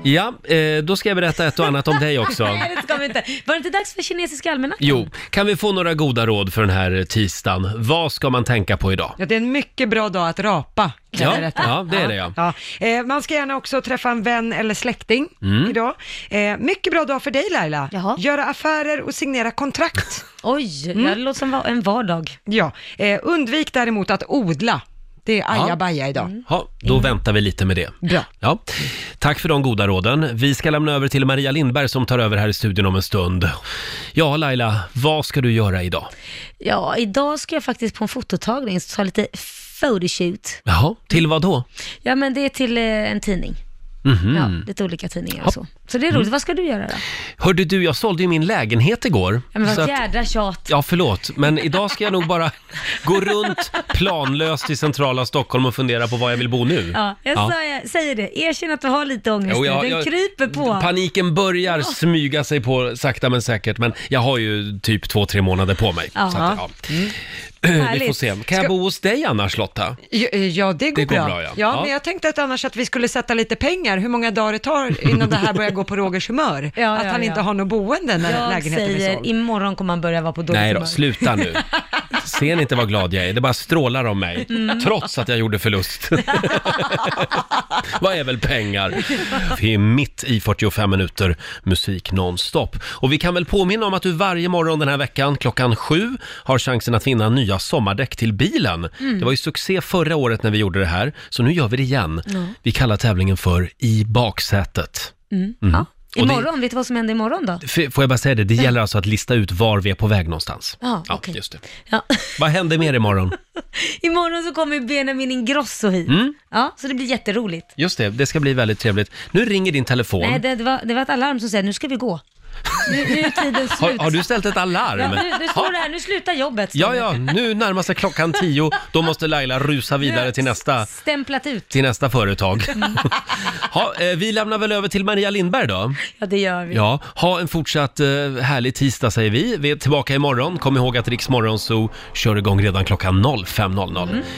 Ja, eh, då ska jag berätta ett och annat om dig
<laughs>
också.
Nej, det ska vi inte. Var det inte dags för kinesiska almanackan?
Jo, kan vi få några goda råd för den här eh, tisdagen? Vad ska man tänka på idag?
Ja, det är en mycket bra dag att rapa. kan jag
Ja,
berätta.
ja, det är det, ja.
Eh, man ska gärna också träffa en vän eller släkting
Mm.
idag. Eh, mycket bra dag för dig Laila.
Jaha.
Göra affärer och signera kontrakt.
Oj, ja, det låter som va- en vardag.
ja. eh, undvik däremot att odla. Det är ajabaja idag.
Ja, då väntar vi lite med det.
Bra.
Ja. Tack för de goda råden. Vi ska lämna över till Maria Lindberg som tar över här i studion om en stund. Ja, Laila, vad ska du göra idag?
Ja, idag ska jag faktiskt på en fototagning, så ta lite photoshoot.
Jaha, till vad då?
Ja, men det är till eh, en tidning.
Mhm.
Ja, lite olika tidningar och så. Så det är
Mm.
roligt. Vad ska du göra då?
Hörde du, jag sålde ju min lägenhet igår.
Ja, men
så
vad
att-
jädra tjat.
Ja, förlåt, men idag ska jag nog bara gå runt planlöst i centrala Stockholm och fundera på var jag vill bo nu.
Ja, jag sa- jag säger det. Erkänn att du har lite ångest
Jo,
nu.
jag-
Den
jag-
kryper på.
Paniken börjar smyga sig på sakta men säkert, men jag har ju typ två, tre månader på mig. Så att, ja. Vi får
Härligt.
se. Kan jag bo hos dig annars Lotta?
Ja, eh, ja, det går,
Det går
bra.
bra, ja.
ja.
Ja.
men jag tänkte att annars att vi skulle sätta lite pengar, hur många dagar det tar innan det här börjar gå på Rogers humör.
<laughs> Ja,
att
ja,
han
ja.
inte har något boende när
Jag
lägenheten är
säger,
såld.
imorgon kommer man börja vara på dåligt
Nej då,
humör.
sluta
<laughs>
nu. Ser ni inte vad glad jag är? Det bara strålar om mig,
Mm.
trots att jag gjorde förlust. <laughs> vad är väl pengar? Vi är mitt i 45 minuter musik nonstop. Och vi kan väl påminna om att du varje morgon den här veckan klockan sju har chansen att vinna nya sommardäck till bilen.
Mm.
Det var ju succé förra året när vi gjorde det här, så nu gör vi det igen. Vi kallar tävlingen för I baksätet.
Ja.
Mm. Och det-
Imorgon, vet du vad som händer imorgon då?
F- Får jag bara säga det, det gäller alltså att lista ut var vi är på väg någonstans.
Ja, okej.
just det.
Ja. <laughs>
Vad händer mer imorgon?
Imorgon så kommer Benjamin Ingrosso hit.
Mm.
Ja, så det blir jätteroligt.
Just det, det ska bli väldigt trevligt. Nu ringer din telefon.
Nej, det, det, var, det var ett alarm som säger nu ska vi gå. Nu, nu är tiden slut.
<laughs> har, har du ställt ett
ja,
alarm?
nu, nu står det här, nu slutar jobbet. står
Ja,
det.
ja, nu närmar sig klockan tio. Då måste Laila rusa vidare till nästa,
Stämplat ut.
till nästa företag.
Mm.
<laughs> Ha, eh, vi lämnar väl över till Maria Lindberg då.
Ja, det gör vi.
Ja, ha en fortsatt eh, härlig tisdag
Mm.
säger vi. Vi är tillbaka imorgon. Kom ihåg att Riks Morgonzoo kör igång redan klockan 05.00.